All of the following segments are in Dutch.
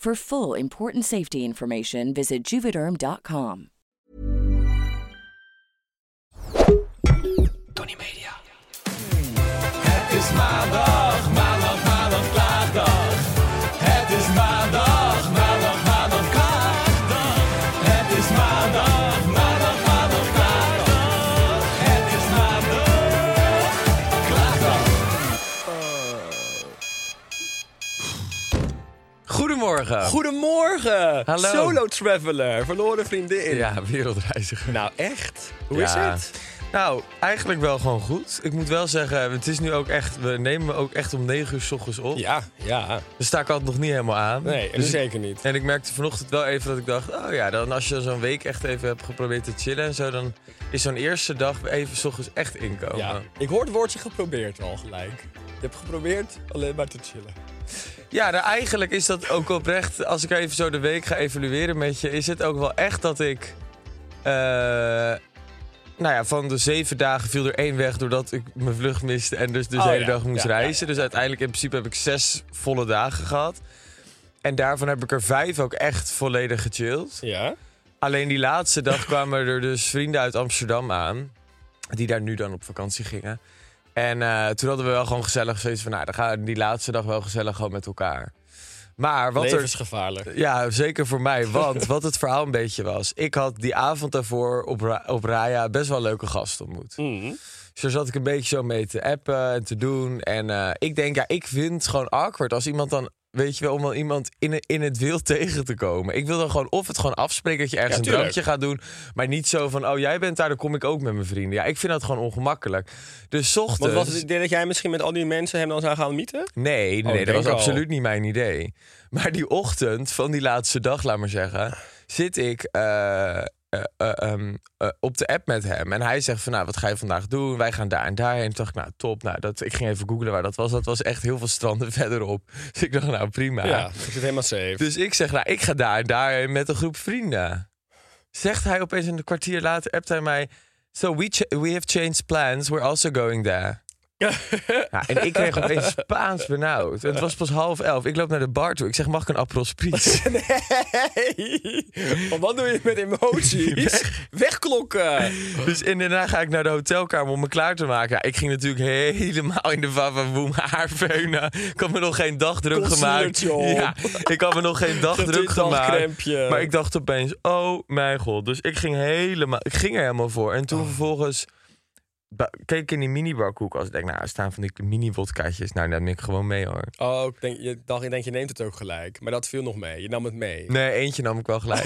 For full important safety information, visit juvederm.com. Tony Media. Het is maandag, maandag, maandag, klaagdag. Het is maandag, maandag, maandag, klaagdag. Het is maandag, maandag, maandag, klaagdag. Het is maandag, klaagdag. Goedemorgen. Goedemorgen, Hallo. solo traveler, verloren vriendin. Ja, wereldreiziger. Nou echt, hoe Ja. is het? Nou, eigenlijk wel gewoon goed. Ik moet wel zeggen, het is nu ook echt... We nemen ook echt om 9 uur s ochtends op. Ja, ja, Dus sta ik altijd nog niet helemaal aan. nee, dus ik, zeker niet. En ik merkte vanochtend wel even dat ik dacht... Oh ja, dan als je dan zo'n week echt even hebt geprobeerd te chillen en zo... Dan is zo'n eerste dag even s ochtends echt inkomen. Ja. Ik hoor het woordje geprobeerd al gelijk. Je hebt geprobeerd alleen maar te chillen. Ja, nou, eigenlijk is dat ook oprecht. Als ik even zo de week ga evalueren met je, is het ook wel echt dat ik. eh, nou ja, van de zeven dagen viel er één weg doordat ik mijn vlucht miste en dus de Oh, hele ja. dag moest Ja, ja, reizen. Dus uiteindelijk in principe heb ik zes volle dagen gehad. En daarvan heb ik er vijf ook echt volledig gechilled. Ja? Alleen die laatste dag kwamen er dus vrienden uit Amsterdam aan. Die daar nu dan op vakantie gingen. En eh, toen hadden we wel gewoon gezellig zoiets van... Nou, dan gaan we die laatste dag wel gezellig gewoon met elkaar. Maar wat er... Levensgevaarlijk. Ja, zeker voor mij. Want wat het verhaal een beetje was... Ik had die avond daarvoor op, Ra- op Raya best wel een leuke gast ontmoet. Mhm. Dus daar zat ik een beetje zo mee te appen en te doen. En eh, ik denk, ja, ik vind het gewoon awkward als iemand dan... Weet je wel, om wel iemand in, het- in het wild tegen te komen. Ik wil dan gewoon of het gewoon afspreken dat je ergens Ja, een tuurlijk. drankje gaat doen. Maar niet zo van, oh jij bent daar, dan kom ik ook met mijn vrienden. Ja, ik vind dat gewoon ongemakkelijk. Dus 's Want ochtends... was het het idee dat jij misschien met al die mensen hem dan zou gaan mieten? Nee, nee, Oh, nee, ik dat was denk al. absoluut niet mijn idee. Maar die ochtend van die laatste dag, laat maar zeggen, zit ik eh, eh, eh, ehm, eh, op de app met hem. En hij zegt van, nou, wat ga je vandaag doen? Wij gaan daar en daar. En toen dacht ik, nou, top. Nou, dat, ik ging even googlen waar dat was. Dat was echt heel veel stranden verderop. Dus ik dacht, nou, prima. ik zit helemaal safe. Dus ik zeg, nou, ik ga daar en daarheen met een groep vrienden. Zegt hij opeens een kwartier later, appt hij mij... So we, ch- we have changed plans, we're also going there. ja, en ik kreeg opeens Spaans benauwd. En het was pas half elf. Ik loop naar de bar toe. Ik zeg, mag ik een Aperol Spritz? Nee! Want wat doe je met emoties? Wegklokken! dus en daarna ga ik naar de hotelkamer om me klaar te maken. Ja, ik ging natuurlijk helemaal in de vavawoem haar veunen. Ik had me nog geen dag druk gemaakt. Concealertje op. Ja, ik had me nog geen dag druk gemaakt. Crempje. Maar ik dacht opeens, oh mijn god. Dus ik ging, helemaal, ik ging er helemaal voor. En toen Oh. vervolgens ba- keek ik in die minibarkoelkast. Ik denk, nou, er staan van die mini-wodkaatjes. Nou, daar neem ik gewoon mee hoor. Oh, ik denk, je, dacht, ik denk, je neemt het ook gelijk. Maar dat viel nog mee. Je nam het mee. Nee, eentje nam ik wel gelijk.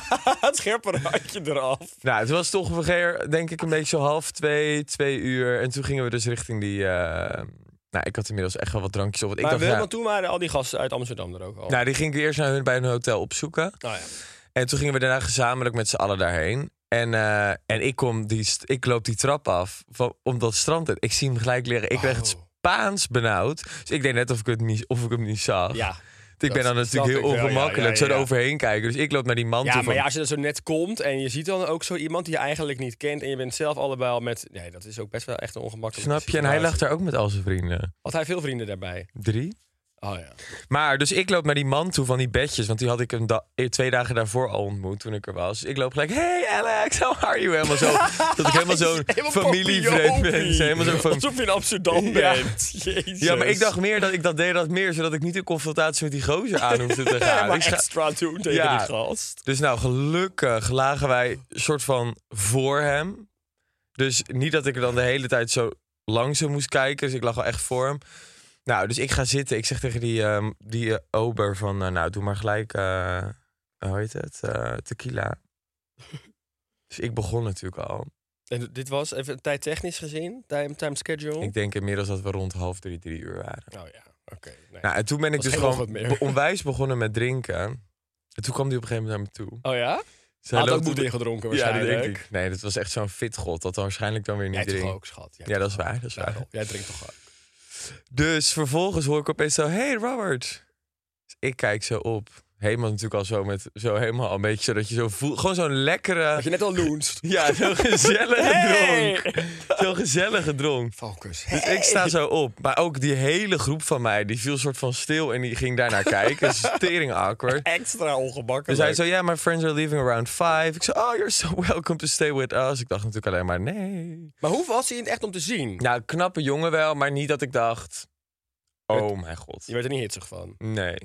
het scherpe randje eraf. nou, het was toch ongeveer, denk ik, een beetje zo half twee, twee uur. En toen gingen we dus richting die... eh, Nou, ik had inmiddels echt wel wat drankjes op. Want ik maar dacht, wel, nou, want toen waren al die gasten uit Amsterdam er ook al. nou, die ging ik eerst naar hun bij een hotel opzoeken. Nou ja. En toen gingen we daarna gezamenlijk met z'n allen daarheen. En, eh, en ik, kom die, st- ik loop die trap af van, om dat strand. uit. Ik zie hem gelijk liggen. Ik kreeg het Oh. Spaans benauwd. Dus ik deed net of ik, het niet, of ik hem niet zag. Ja, ik ben dan dat snap natuurlijk heel ik wel, ja, ongemakkelijk ja, ja, zo ja. overheen kijken. Dus ik loop naar die man ja toe. maar van, ja, als je er zo net komt en je ziet dan ook zo iemand die je eigenlijk niet kent... en je bent zelf allebei al met... Nee, dat is ook best wel echt een ongemakkelijke snap je? En hij lag situatie. daar ook met al zijn vrienden. Had hij veel vrienden daarbij? Drie? Oh ja. Maar dus ik loop naar die man toe van die bedjes. Want die had ik een da- eh, twee dagen daarvoor al ontmoet toen ik er was. Dus ik loop gelijk, hey Alex, how are you? Helemaal zo, dat ik helemaal zo'n Helemaal familievreed ben. papioopie. Helemaal zo van, Alsof je in Amsterdam Ja. bent. Jezus. ja, maar ik dacht meer dat ik dat deed dat meer, zodat ik niet in confrontatie met die gozer aan hoefde te gaan. maar Ik sta- extra doen tegen Ja. die gast. Dus nou, gelukkig lagen wij soort van voor hem. Dus niet dat ik er dan de hele tijd zo langs hem moest kijken. Dus ik lag wel echt voor hem. Nou, dus ik ga zitten. Ik zeg tegen die, ehm, die eh, ober van, eh, nou, doe maar gelijk, eh hoe heet het, Eh, tequila. Dus ik begon natuurlijk al. En dit was even tijdtechnisch gezien, time, time schedule. Ik denk inmiddels dat we rond half drie, drie uur waren. Nou ja, oké. nee. Nou, en toen ben ik Was dus geen gewoon ochtend meer. be- onwijs begonnen met drinken. En toen kwam die op een gegeven moment naar me toe. Oh ja? Zij Had ook loopt op moed de- ingedronken Ja, waarschijnlijk. dat denk ik. Nee, dat was echt zo'n fitgod. Dat dan waarschijnlijk dan weer niet Jij drinkt. toch ook, schat? Jij Ja, dat is toch waar, ook? dat is Daarom. waar. Jij drinkt toch ook? Dus vervolgens hoor ik opeens zo... Hey Robert! Dus ik kijk zo op. Helemaal natuurlijk al zo met... Zo helemaal al een beetje zodat je zo voelt... Gewoon zo'n lekkere... Had je net al loenst? Ja, zo'n gezellige Hey! dronk. Zo'n gezellige dronk. Focus. Dus ik sta zo op. Maar ook die hele groep van mij, die viel soort van stil en die ging daarnaar kijken. Dus tering awkward. Extra ongemakkelijk. Dus hij zo, ja, my friends are leaving around five. Ik zei, oh, you're so welcome to stay with us. Ik dacht natuurlijk alleen maar, nee. Maar hoe was hij in het echt om te zien? Nou, knappe jongen wel, maar niet dat ik dacht... Oh mijn god. Je werd er niet hitsig van. Nee.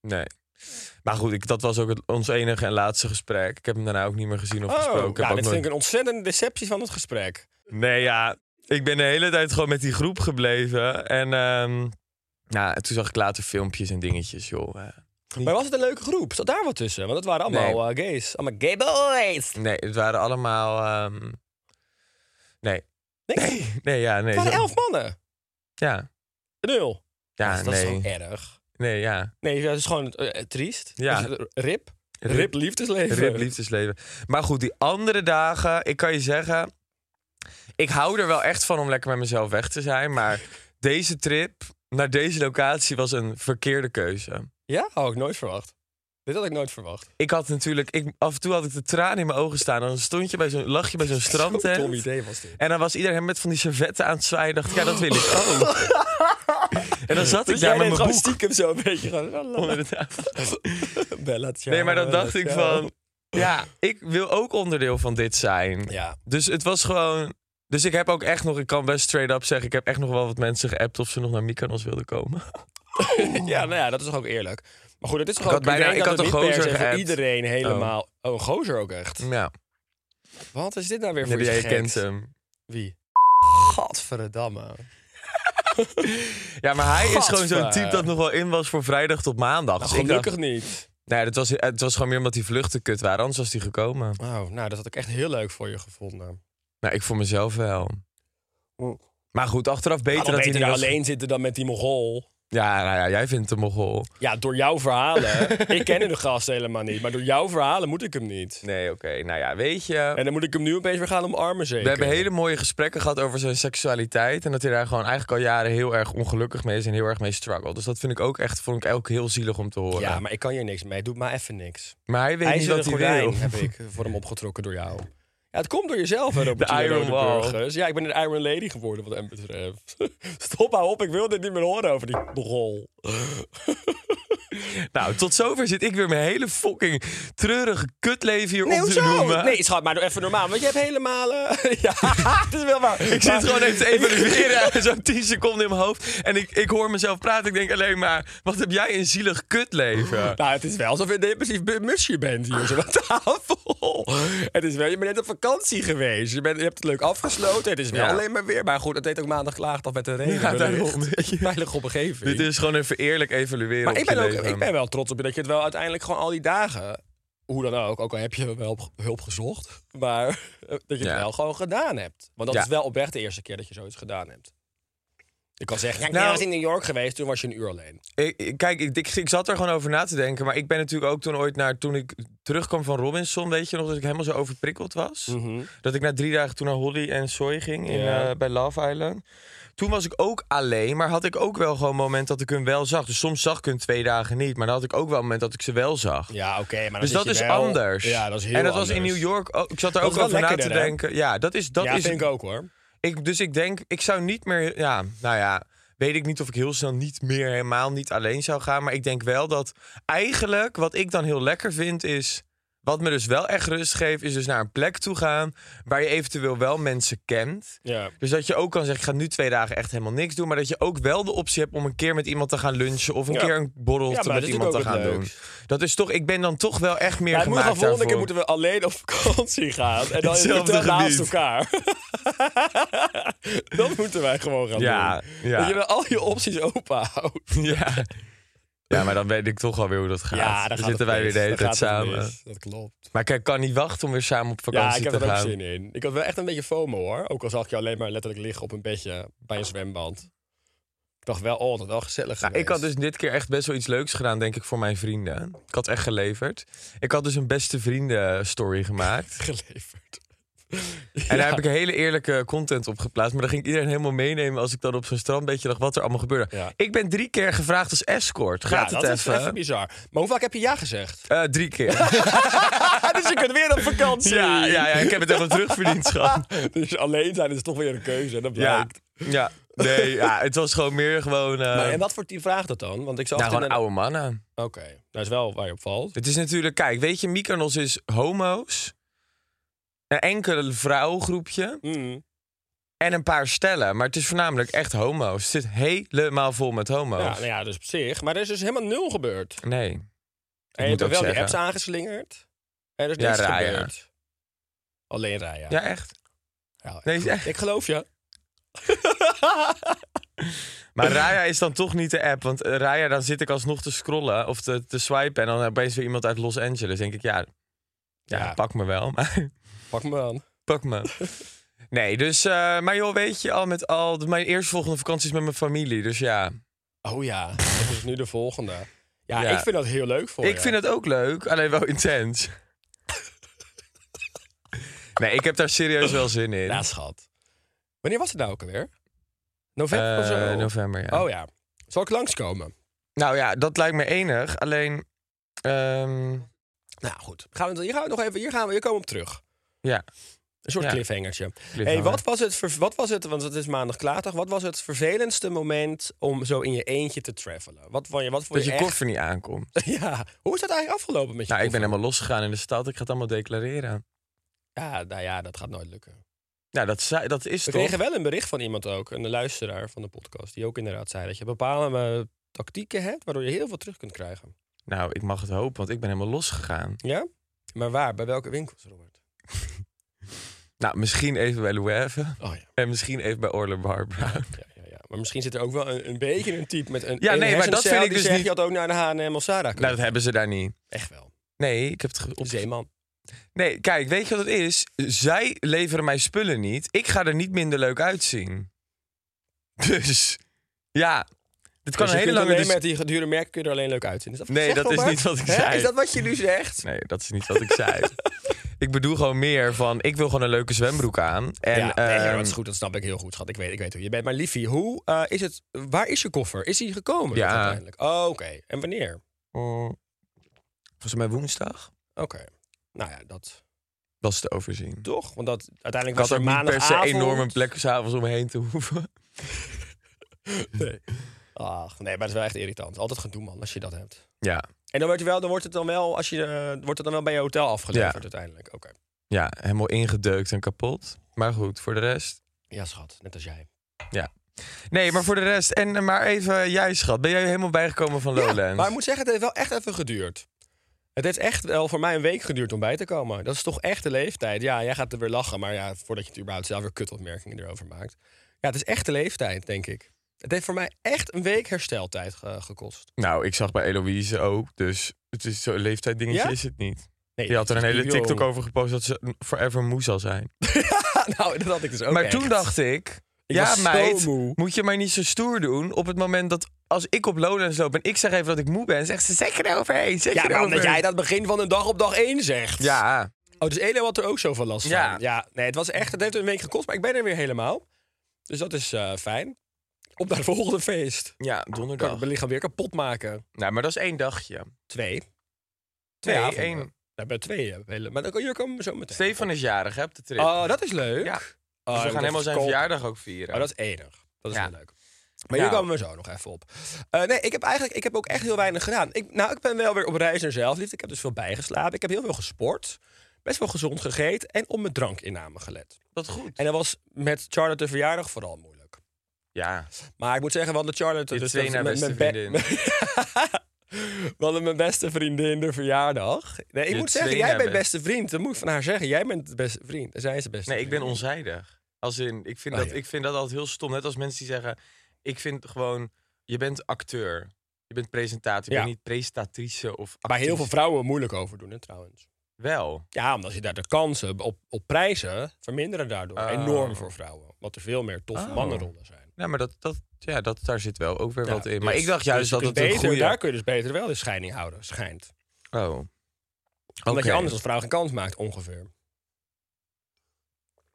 Nee. Maar goed, ik, dat was ook het, ons enige en laatste gesprek. Ik heb hem daarna ook niet meer gezien of gesproken. Ik heb nou, ook dit nooit- vind ik een ontzettende deceptie van het gesprek. Nee, ja. Ik ben de hele tijd gewoon met die groep gebleven. En ehm, nou, toen zag ik later filmpjes en dingetjes, joh. eh. Maar was het een leuke groep? Zat daar wat tussen? Want het waren allemaal eh, gays. Allemaal gay boys. Nee, het waren allemaal... ehm, Nee. Niks? Nee, nee, ja, nee. Het waren zo- elf mannen. Ja, Nul. ja, dat is nee. gewoon erg. Nee, ja. Nee, dat is gewoon eh, triest. Ja. Dus, eh, rip. Rip. Rip liefdesleven. Rip liefdesleven. Maar goed, die andere dagen, ik kan je zeggen, ik hou er wel echt van om lekker met mezelf weg te zijn. Maar deze trip naar deze locatie was een verkeerde keuze. Ja, had ik nooit verwacht. Dit had ik nooit verwacht. Ik had natuurlijk, ik, af en toe had ik de tranen in mijn ogen staan. Dan stond je bij zo'n, lag je bij zo'n Zo'n dom strandtent. idee was dit. En dan was iedereen met van die servetten aan het zwaaien. Dacht ik, ja, dat wil ik ook. en dan zat ik Dus daar jij bent met mijn gewoon boek stiekem zo een beetje gaan... onder de tafel. Bella, ciao, Nee, maar dan bella, dacht ik ciao. van, ja, ik wil ook onderdeel van dit zijn. Ja, Dus het was gewoon. Dus ik heb ook echt nog, ik kan best straight up zeggen, ik heb echt nog wel wat mensen geappt of ze nog naar Mykonos wilden komen. ja, nou ja, dat is toch ook eerlijk. Maar goed, het is toch had ook... bijna- iedereen ik kan had het een niet per gozer se voor geappt. Iedereen helemaal... Oh. een gozer ook echt. Ja, Wat is dit nou weer voor nee, iets jij geks? kent hem. Wie? Nou, Gadverdamme. Ja, maar hij is gewoon zo'n Gadver. type dat nog wel in was voor vrijdag tot maandag. Dus ik dacht, Nou, Gelukkig niet. nee, dat was, het was gewoon meer omdat die vluchten kut waren, anders was hij gekomen. Oh, nou, dat had ik echt heel leuk voor je gevonden. Nou, ik voor mezelf wel. Hm. Mm. Maar goed, achteraf Ik beter had dat hij beter niet daar was- alleen zitten dan met die Mogol. Ja, nou ja, jij vindt hem mogol. Ja, door jouw verhalen. ik ken de gast helemaal niet, maar door jouw verhalen moet ik hem niet. Nee, oké. Nou ja, weet je. En dan moet ik hem nu opeens weer gaan omarmen zeker. We hebben hele mooie gesprekken gehad over zijn seksualiteit. En dat hij daar gewoon eigenlijk al jaren heel erg ongelukkig mee is en heel erg mee struggelt. Dus dat vind ik ook echt, vond ik ook heel zielig om te horen. Ja, maar ik kan hier niks mee. Doe maar even niks. Maar hij weet niet IJzeren wat hij wil. gordijn heb ik eh, voor hem opgetrokken door jou. Ja, het komt door jezelf, hè, Robert. De J. Iron Wall. Rodenburgers. Ja, ik ben een Iron Lady geworden wat hem betreft. Stop, hou op. Ik wil dit niet meer horen over die Mogol. Nou, tot zover zit ik weer mijn hele fucking treurige kutleven hier Nee, op te hoezo? noemen. Nee, schat, maar doe even normaal. Want je hebt helemaal... eh, ja, het is wel waar. Ik zit gewoon even te evalueren, en zo'n 10 seconden in mijn hoofd. En ik, ik hoor mezelf praten. Ik denk alleen maar, wat heb jij een zielig kutleven? Nou, het is wel alsof je een depressief bu- musje bent hier zo aan tafel. Het is wel, je bent net op vakantie geweest. Je, bent, je hebt het leuk afgesloten. Het is wel Ja. alleen maar weer. Maar goed, het deed ook maandag klaagd af met de regen. Ja, wellicht. daarom. Veilige omgeving. Dit is gewoon even eerlijk evalueren maar op ik ben, je ook, leven. ik ben wel trots op je dat je het wel uiteindelijk gewoon al die dagen... Hoe dan ook, ook al heb je wel op- hulp gezocht. Maar dat je het Ja. wel gewoon gedaan hebt. Want dat Ja. is wel oprecht de eerste keer dat je zoiets gedaan hebt. Ik kan zeggen, ja, ik Nou- was in New York geweest. Toen was je een uur alleen. Ik- ik- Eh, kijk, ik, ik, ik zat er gewoon over na te denken. Maar ik ben natuurlijk ook toen ooit naar... Toen ik terugkwam van Robinson, weet je nog... Dat ik helemaal zo overprikkeld was. Dat ik na drie dagen toen naar Holly en Soy ging in, Mhm. Ja. eh, bij Love Island. Toen was ik ook alleen. Maar had ik ook wel gewoon moment dat ik hun wel zag. Dus soms zag ik hun twee dagen niet. Maar dan had ik ook wel een moment dat ik ze wel zag. Ja, oké. maar dan Dus zit dat is je wel- anders. Ja, dat is heel En dat was in anders. New York. ook- ik zat daar Dat is ook wel over na te lekkerder, hè? denken. Ja, dat is. Dat ja, is vind ik ook hoor. ik, dus ik denk, ik zou niet meer. Ja, nou ja. weet ik niet of ik heel snel niet meer helemaal niet alleen zou gaan. Maar ik denk wel dat eigenlijk wat ik dan heel lekker vind is. Wat me dus wel echt rust geeft, is dus naar een plek toe gaan waar je eventueel wel mensen kent. Ja. Dus dat je ook kan zeggen, ik ga nu twee dagen echt helemaal niks doen. Maar dat je ook wel de optie hebt om een keer met iemand te gaan lunchen. Of een Ja. keer een borrel Ja, te maar met dat is iemand te natuurlijk gaan ook doen. het Dat is toch, ik ben dan toch wel echt meer Ja, het moet gemaakt gaan volgende keer daarvoor. moeten we alleen op vakantie gaan. En dan in het Hetzelfde hotel naast gebied. elkaar. dat moeten wij gewoon gaan Ja, doen. ja. Dat je dan al je opties open houdt. Ja. ja, maar dan weet ik toch alweer hoe dat gaat. Ja, dan dan gaat het zitten wij weer mis. de hele Dan tijd gaat het samen. mis. Dat klopt. Maar ik kan niet wachten om weer samen op Ja, vakantie ik heb te er ook gaan. zin in. Ik had wel echt een beetje FOMO hoor. Ook al zag ik je alleen maar letterlijk liggen op een bedje bij een zwembad. Ik dacht wel, oh, dat is wel gezellig Nou, ik geweest. had dus dit keer echt best wel iets leuks gedaan, denk ik, voor mijn vrienden. Ik had echt geleverd. Ik had dus een beste vrienden story gemaakt. geleverd. En daar heb ik een hele eerlijke content op geplaatst. Maar dan ging ik iedereen helemaal meenemen als ik dan op zo'n strandbeetje dacht wat er allemaal gebeurde. Ja. Ik ben drie keer gevraagd als escort. Gaat ja, het dat even? is even bizar. Maar hoe vaak heb je ja gezegd? Eh, drie keer. dus je kunt weer op vakantie. ja, ja, ja, ik heb het helemaal terugverdiend, schat. Dus alleen zijn is toch weer een keuze. en Dat Ja, blijkt. ja. Nee, ja, het was gewoon meer gewoon... eh, Maar en wat voor die vraagt dat dan? Want ik zag nou, het in gewoon een- oude mannen. Oké, dat is wel waar je op valt. Het is natuurlijk, kijk, weet je, Mykonos is homo's. Een enkele vrouwgroepje. Mm. En een paar stellen. Maar het is voornamelijk echt homo's. Het zit helemaal vol met homo's. Ja, nou ja, dus op zich. Maar er is dus helemaal nul gebeurd. Nee. En je hebt moet er ook wel die zeggen. apps aangeslingerd. En er is Ja, niks Raya. gebeurd. Alleen Raya. Ja, echt. Ja, ik, Nee, geloof- echt. ik geloof je. Maar Raya is dan toch niet de app. Want eh, Raya, dan zit ik alsnog te scrollen of te, te swipen. En dan opeens weer iemand uit Los Angeles. Denk ik, ja, ja, Ja. pak me wel. Maar Pak me aan. pak me. Nee, dus... eh, maar joh, weet je, al met al... dus Mijn eerstvolgende vakantie is met mijn familie. Dus ja, Oh ja, dat is nu de volgende. Ja, Ja. ik vind dat heel leuk voor ik je. vind het ook leuk. Alleen wel intens. nee, ik heb daar serieus wel zin in. Ja, schat. Wanneer was het nou ook alweer? November of Eh, zo? november, ja. Oh ja. Zal ik langskomen? Nou ja, dat lijkt me enig. Alleen, ehm, Nou goed, gaan we, hier gaan we nog even, hier gaan we, hier komen we op terug. ja. Een soort Ja. cliffhangertje. nou Hey, wat, was het ver- wat was het, want het is maandag klaardag, wat was het vervelendste moment om zo in je eentje te travelen? Wat vond je, wat vond Dat je echt- koffer niet aankomt. Ja, hoe is dat eigenlijk afgelopen met je Nou, ik koffer? ben helemaal losgegaan in de stad. Ik ga het allemaal declareren. Ja, nou ja, dat gaat nooit lukken. Nou, dat, zei- dat is We toch... kregen wel een bericht van iemand ook, een luisteraar van de podcast, die ook inderdaad zei dat je bepaalde eh, tactieken hebt waardoor je heel veel terug kunt krijgen. Nou, ik mag het hopen, want ik ben helemaal losgegaan. Ja? Maar waar? Bij welke winkels, Robert? Nou, misschien even bij Louis Vuitton. Oh ja. En misschien even bij Orle Barbara. Ja, ja, ja. Maar misschien zit er ook wel een, een beetje een type met een. Ja, een nee, maar dat hersencel vind ik die dus zegt, niet- Je had ook naar de H&M of Zara kunnen. Nou, dat hebben ze daar niet. Echt wel. Nee, ik heb het... ge- Op Op... Zeeman. Nee, kijk, weet je wat het is? Zij leveren mij spullen niet. Ik ga er niet minder leuk uitzien. Dus, ja. Het kan Dus een je hele kunt lange... alleen dis- met die gedurende merken kun je er alleen leuk uitzien. Is dat wat je Nee, zegt, dat is Robert? niet wat ik Hè? zei. Is dat wat je nu zegt? Nee, dat is niet wat ik zei. ik bedoel gewoon meer van, ik wil gewoon een leuke zwembroek aan. En, ja, nee, ja, dat is ehm, goed. Dat snap ik heel goed, schat. Ik weet, ik weet hoe je bent. Maar Liefie, hoe eh, is het? Waar is je koffer? Is hij gekomen? Ja. uiteindelijk? Oh, oké. En wanneer? mm, Volgens mij woensdag Oké. Nou ja, dat was te overzien. toch? Want dat ik uiteindelijk had was ook er niet per se maandagavond. enorm een plek s'avonds omheen te hoeven. Nee. Ach, nee, maar dat is wel echt irritant. Altijd gedoe, man, als je dat hebt. Ja, En dan, werd je wel, dan wordt het dan wel, als je, eh, wordt het dan wel bij je hotel afgeleverd Ja. uiteindelijk. Oké. ja, helemaal ingedeukt en kapot. Maar goed, voor de rest. Ja, schat. Net als jij. Nee, maar voor de rest. En eh, maar even jij, schat. Ben jij helemaal bijgekomen van Lowlands? Ja, maar ik moet zeggen, het heeft wel echt even geduurd. Het heeft echt wel voor mij een week geduurd om bij te komen. Dat is toch echt de leeftijd. Ja, jij gaat er weer lachen, maar ja, voordat je het überhaupt zelf weer kutopmerkingen erover maakt. Ja, het is echt de leeftijd, denk ik. Het heeft voor mij echt een week hersteltijd eh, gekost. Nou, ik zag bij Eloïse ook. Dus het is zo'n leeftijddingetje Ja? is het niet. Nee, Die had er een dat is hele jong. TikTok over gepost dat ze forever moe zal zijn. nou, dat had ik dus ook maar echt. toen dacht ik, Ik ja was zo meid, moe. moet je maar niet zo stoer doen op het moment dat als ik op Lowlands loop en ik zeg even dat ik moe ben, zegt ze zeker eroverheen, Ja, zeker maar omdat eroverheen. jij dat begin van de dag op dag één zegt. Ja, Oh, dus Elo had er ook zoveel last van. Ja. Ja. nee, het was echt, het heeft een week gekost, maar ik ben er weer helemaal. Dus dat is eh, fijn. Op naar het volgende feest. ja, Kan ik donderdag. mijn lichaam weer kapot maken. Nou, maar dat is één dagje. Twee. Twee Nee, avonden. één. Nou, bij twee. eh, hele- Maar dan, jullie komen we zo meteen. Stefan is jarig, hè, op de trip. Oh, dat is leuk. Ja. Oh, dus we dat gaan helemaal zijn verkopen. verjaardag ook vieren. Oh, dat is enig. Dat is Ja. wel leuk. Maar Nou. hier komen we zo nog even op. Eh, nee, ik heb eigenlijk ik heb ook echt heel weinig gedaan. Ik, nou, ik ben wel weer op reis naar zelfliefde. Ik heb dus veel bijgeslapen. Ik heb heel veel gesport. Best wel gezond gegeten. En op mijn drankinname gelet. Dat goed. En dat was met Charlotte de verjaardag vooral moeilijk. Ja. Maar ik moet zeggen, we hadden Charlotte... Je dus twee dat- na mijn- beste mijn be- vriendin. we hadden mijn beste vriendin de verjaardag. Nee, ik Je moet zeggen, twee jij na bent best- beste vriend. Dat moet ik van haar zeggen. Jij bent de beste vriend. En zij is de beste Nee, ik ben vriendin. onzijdig. Als in, ik vind, Ah, dat, ja. ik vind dat altijd heel stom. Net als mensen die zeggen, ik vind gewoon, je bent acteur. Je bent presentator. Je Ja. bent niet presentatrice of Waar heel veel actrice. vrouwen moeilijk over doen, hè, trouwens. Wel. Ja, omdat je daar de kansen op, op prijzen verminderen daardoor Oh. enorm voor vrouwen. Wat er veel meer toffe Oh. mannenrollen zijn. Ja, maar dat, dat, ja, dat, daar zit wel ook weer Ja, wat in. Maar dus- ik dacht dus juist je dat kunt het een beter, goede... Daar kun je dus beter wel de scheiding houden, schijnt. Oh. Oké. Omdat je anders als vrouw geen kans maakt, ongeveer.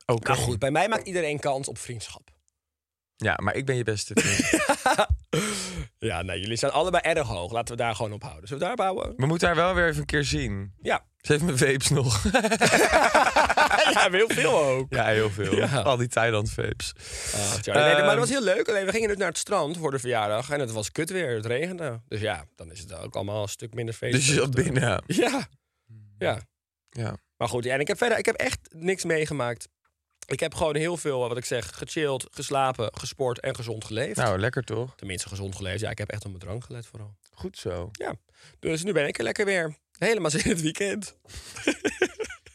Oké. Nou goed, bij mij maakt iedereen kans op vriendschap. Ja, maar ik ben je beste vriend. ja, nou, jullie staan allebei erg hoog. Laten we daar gewoon op houden. Zullen we daar bouwen? We moeten haar wel weer even een keer zien. Ja. Ze heeft mijn vapes nog. ja, heel veel ook. ja, heel veel. Ja. Al die Thailand vapes. Ah, Charlie. nee, maar dat Ehm. was heel leuk. Alleen we gingen dus naar het strand voor de verjaardag. En het was kut weer. Het regende. Dus ja, dan is het ook allemaal een stuk minder feest. Dus je zat binnen. Ja. Ja. Ja. Maar goed, ja, en ik heb verder ik heb echt niks meegemaakt. Ik heb gewoon heel veel, eh, wat ik zeg, gechilled, geslapen, gesport en gezond geleefd. Nou, lekker toch? Tenminste, gezond geleefd. Ja, ik heb echt op mijn drank gelet vooral. Goed zo. Dus nu ben ik er lekker weer. Helemaal zin in het weekend.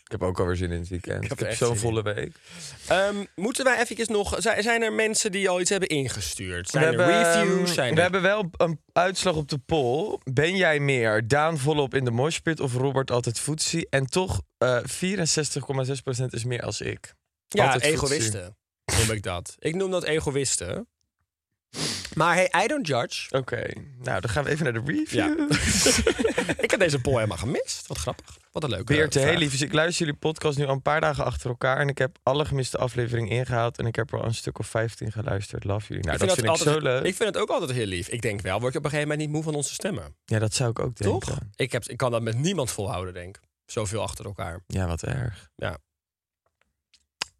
Ik heb ook alweer zin in het weekend. Ik Ik heb heb, er echt zin zo'n in. volle week. Ehm, moeten wij eventjes nog... zi- Zijn er mensen die al iets hebben ingestuurd? Zijn er ehm, reviews? Zijn we er... hebben wel een uitslag op de poll. Ben jij meer Daan volop in de moshpit of Robert altijd voetsie? En toch eh 64,6% is meer als ik. Ja, altijd egoïsten noem ik dat. Ik noem dat egoïsten. Maar hey, I don't judge. Oké, nou dan gaan we even naar de Ja. review. ik heb deze poll helemaal gemist. Wat grappig. Wat een leuke Beert, vraag. heel lief. Ik luister jullie podcast nu al een paar dagen achter elkaar. En ik heb alle gemiste afleveringen ingehaald. En ik heb er al een stuk of 15 geluisterd. Love jullie. Nou, dat vind ik altijd, zo leuk. Ik vind het ook altijd heel lief. Ik denk wel, word je op een gegeven moment niet moe van onze stemmen. Ja, dat zou ik ook denken. Toch? Ik, heb, ik kan dat met niemand volhouden, denk ik. Zoveel achter elkaar. Ja, wat erg. Ja.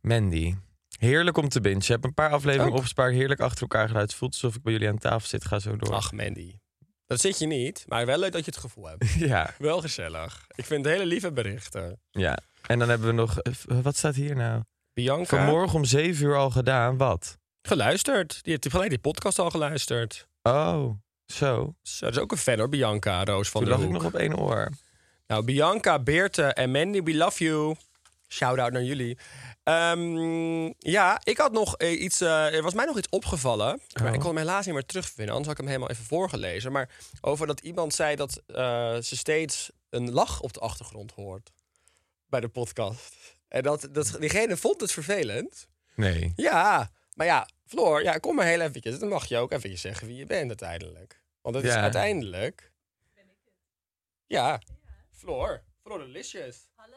Mandy. Heerlijk om te bingen. Je hebt een paar afleveringen Ook. opgespaard. Heerlijk achter elkaar geluid. Het voelt alsof ik bij jullie aan tafel zit. Ga zo door. Ach, Mandy. Dat zit je niet, maar wel leuk dat je het gevoel hebt. Ja, Wel gezellig. Ik vind hele lieve berichten. ja. En dan hebben we nog... eh, v- Wat staat hier nou? Bianca, Vanmorgen om 7 uur al gedaan. Wat? geluisterd. Die heeft gelijk die podcast al geluisterd. Oh, zo. Zo, dat is ook een fan hoor, Bianca, Roos van Toen der lag ik Hoek. nog op één oor. Nou, Bianca, Beerte en Mandy, we love you. Shout-out naar jullie. Ehm, ja, ik had nog eh, iets... eh, er was mij nog iets opgevallen. Maar Oh. ik kon hem helaas niet meer terugvinden. Anders had ik hem helemaal even voorgelezen. Maar over dat iemand zei dat eh, ze steeds een lach op de achtergrond hoort. Bij de podcast. En dat, dat diegene vond het vervelend. Nee. Ja, maar ja, Floor, ja, kom maar heel eventjes. Dan mag je ook eventjes zeggen wie je bent uiteindelijk. Want dat is Ja. uiteindelijk... Ben ik Ja, Floor. Floor Delicious. Hallo.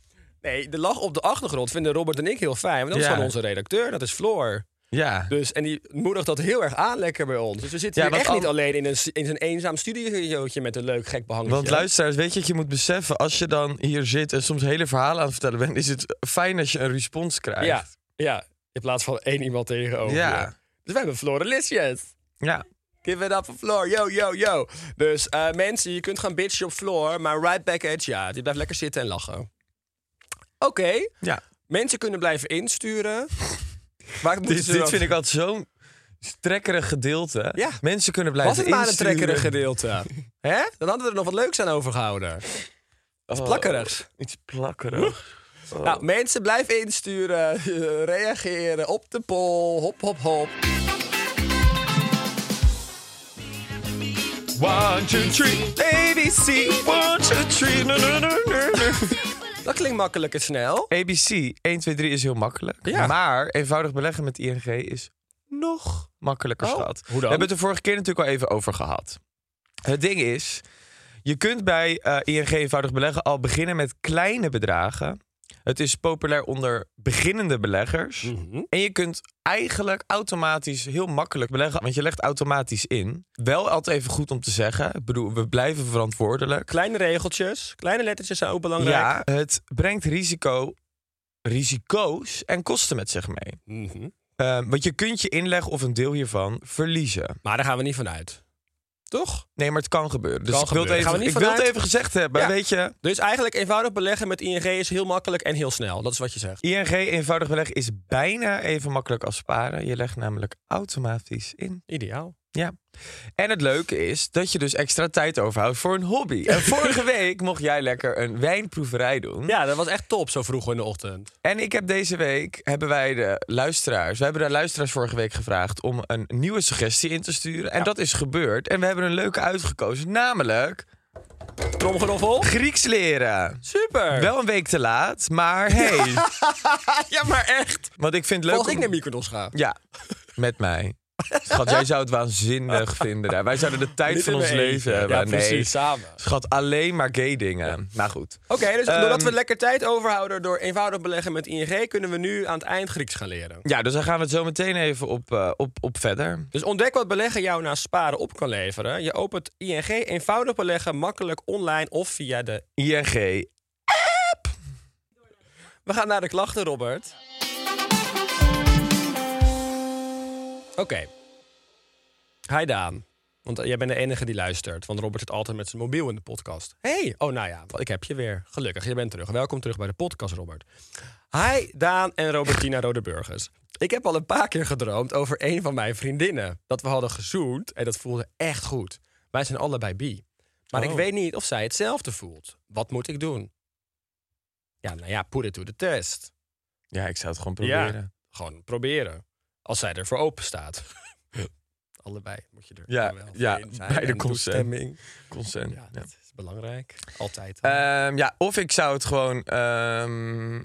nee, de lach op de achtergrond vinden Robert en ik heel fijn. Want dat is Ja. van onze redacteur, dat is Floor. Ja. Dus, en die moedigt dat heel erg aan lekker bij ons. Dus we zitten Ja, hier want echt niet al- alleen in een, in een eenzaam studiootje met een leuk gek behangetje. Want luisteraars, weet je wat je moet beseffen? Als je dan hier zit en soms hele verhalen aan het vertellen bent, is het fijn als je een respons krijgt. Ja, ja, in plaats van één iemand tegenover. je. Ja. Dus we hebben Floor Delicious. Ja. Give it up for Floor, yo, yo, yo. Dus eh, mensen, je kunt gaan bitchen op Floor, maar right back at ya. Die blijft lekker zitten en lachen. Oké, Ja. mensen kunnen blijven insturen. Maar ik moet Dit, dit vind ik altijd zo'n trekkerig gedeelte. Ja. Mensen kunnen blijven Was het maar een insturen. trekkerig gedeelte? Hè? Dan hadden we er nog wat leuks aan overgehouden. Iets Oh, plakkerigs. Iets plakkerig. Nou, mensen, blijven insturen. Reageren op de poll. Hop, hop, hop. One, two, three, ABC. One, two, three. na, na, na, na, na. Dat klinkt makkelijk en snel. ABC, 1, 2, 3 is heel makkelijk. Ja. Maar eenvoudig beleggen met ING is nog makkelijker, Oh, schat. hoe dan? We hebben het er vorige keer natuurlijk al even over gehad. Het ding is, je kunt bij eh, ING eenvoudig beleggen al beginnen met kleine bedragen. Het is populair onder beginnende beleggers. Mhm. En je kunt eigenlijk automatisch heel makkelijk beleggen, want je legt automatisch in. Wel altijd even goed om te zeggen, ik bedoel, we blijven verantwoordelijk. Kleine regeltjes, kleine lettertjes zijn ook belangrijk. Ja, het brengt risico, risico's en kosten met zich mee. Mhm. Eh, Ehm, want je kunt je inleg of een deel hiervan verliezen. Maar daar gaan we niet van uit. Toch? Nee, maar het kan gebeuren. Dus Kan ik wil het gebeuren. Gaan even, we niet ik wil het vanuit? even gezegd hebben. Ja. Weet je, Dus eigenlijk eenvoudig beleggen met ING is heel makkelijk en heel snel. Dat is wat je zegt. ING eenvoudig beleg is bijna even makkelijk als sparen. Je legt namelijk automatisch in. Ideaal. Ja. En het leuke is dat je dus extra tijd overhoudt voor een hobby. En vorige week mocht jij lekker een wijnproeverij doen. Ja, dat was echt top zo vroeg in de ochtend. En ik heb deze week, hebben wij de luisteraars, we hebben de luisteraars vorige week gevraagd om een nieuwe suggestie in te sturen. En dat is gebeurd. En we hebben een leuke uitgekozen, namelijk Tromgeroffel. Grieks leren. Super. Wel een week te laat, maar hey. ja, maar echt. Want ik vind het leuk Volg ik om- naar Mykonos ga. Ja, met mij. Schat, jij zou het waanzinnig vinden. daar. Wij zouden de tijd Niet van in ons mijn eentje. leven hebben. Ja, nee. precies, samen. Schat, alleen maar gay dingen. Maar goed. Oké, dus doordat Ehm, we lekker tijd overhouden door eenvoudig beleggen met ING... kunnen we nu aan het eind Grieks gaan leren. Ja, dus daar gaan we het zo meteen even op, eh, op, op verder. Dus ontdek wat beleggen jou na sparen op kan leveren. Je opent ING eenvoudig beleggen makkelijk online of via de... ING. We gaan naar de klachten, Robert. Oké. Hi Daan. Want eh, jij bent de enige die luistert. Want Robert zit altijd met zijn mobiel in de podcast. hey. oh nou ja, ik heb je weer. Gelukkig, je bent terug. Welkom terug bij de podcast, Robert. Hi Daan en Robertina Rodeburgers. Ik heb al een paar keer gedroomd over een van mijn vriendinnen. Dat we hadden gezoend en dat voelde echt goed. Wij zijn allebei bi. Maar ik Oh. weet niet of zij hetzelfde voelt. Wat moet ik doen? Ja, nou ja, put it to the test. Ja, ik zou het gewoon proberen. Gewoon proberen. Als zij ervoor open staat. Allebei moet je er Ja, wel voor ja, in zijn. bij de En toestemming. consent. Consent. Ja, Ja. dat is belangrijk. Altijd. Ehm, ja, of ik zou het gewoon. ehm,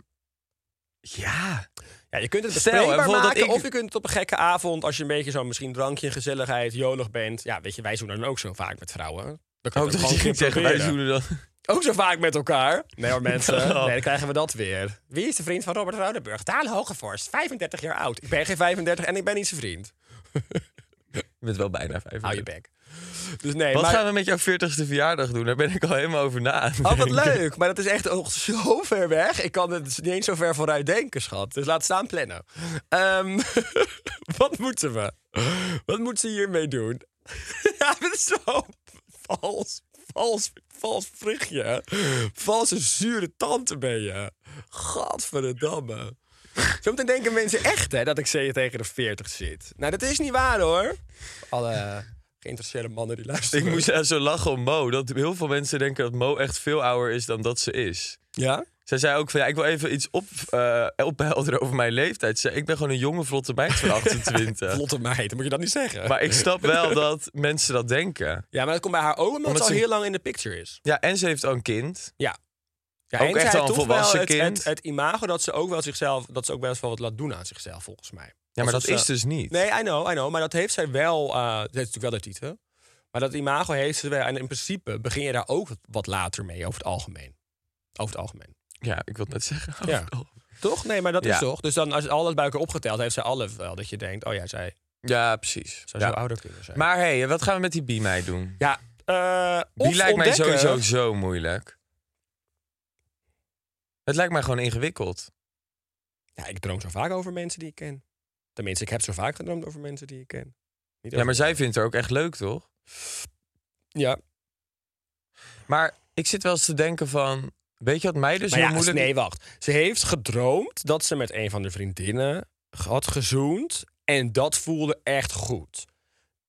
ja. ja, je kunt het stel, hè, bespreekbaar bijvoorbeeld maken. dat ik- Of je kunt het op een gekke avond, als je een beetje zo misschien drankje, gezelligheid, jolig bent. Ja, weet je, wij doen dan ook zo vaak met vrouwen. Dan kan Ook het Oh, dat je gewoon ging een keer zeggen, wij proberen. zoenen dan. Ook zo vaak met elkaar. Nee hoor, mensen. Nou. Nee, dan krijgen we dat weer. Wie is de vriend van Robert Rodenburg? Daan Hogevorst, 35 jaar oud. Ik ben geen 35 en ik ben niet zijn vriend. Je bent wel bijna vijf. Hou Ah, je bek. Dus nee, Wat maar... gaan we met jouw 40ste verjaardag doen? Daar ben ik al helemaal over na. aan het Oh, wat denken. leuk. Maar dat is echt nog zo ver weg. Ik kan het niet eens zo ver vooruit denken, schat. Dus laat staan plannen. Ehm, wat moeten we? Wat moeten ze hiermee doen? ja, dit is zo vals. Vals, vals vruchtje. Valse zure tante ben je. Gadverdamme. Zometeen denken mensen echt hè, dat ik zeker tegen de 40 zit. Nou, dat is niet waar hoor. Alle geïnteresseerde mannen die Ik luisteren. moest eh, zo lachen om Mo. Dat heel veel mensen denken dat Mo echt veel ouder is dan dat ze is. Ja? Zij zei ook van, ja, ik wil even iets op, eh, ophelderen over mijn leeftijd. Ze zei, ik ben gewoon een jonge vlotte meid van 28. Vlotte meid, moet je dat niet zeggen. maar ik snap wel dat mensen dat denken. Ja, maar dat komt bij haar ook omdat, Omdat ze al ze- heel lang in de picture is. Ja, en ze heeft al een kind. Ja. ja Ook en echt zij al een heeft toch volwassen wel het, kind. Het, het imago dat ze ook wel zichzelf, dat ze ook best wel wat laat doen aan zichzelf, volgens mij. Ja, maar Alsof dat is ze- dus niet. Nee, I know, I know. Maar dat heeft zij wel, eh dat heeft natuurlijk wel de titel. Maar dat imago heeft ze wel. En in principe begin je daar ook wat- wat later mee, over het algemeen. Over het algemeen. Ja, ik wil het net zeggen. Ja. Oh. Toch? Nee, maar dat Ja. is toch. Dus dan als alles bij elkaar opgeteld heeft zij alles wel. Dat je denkt, oh ja, zij Ja, precies. zou Ja. zo ouder kunnen zijn. Maar hé, hey, wat gaan we met die B-meid doen? ja, eh Die of lijkt ontdekken- mij sowieso zo moeilijk. Het lijkt mij gewoon ingewikkeld. Ja, ik droom zo vaak over mensen die ik ken. Tenminste, ik heb zo vaak gedroomd over mensen die ik ken. Niet Ja, maar over- zij vindt haar ook echt leuk, toch? Ja. Maar ik zit wel eens te denken van... Weet je wat mij dus Maar heel ja, moeilijk... nee, wacht. Ze heeft gedroomd dat ze met een van de vriendinnen had gezoend. En dat voelde echt goed.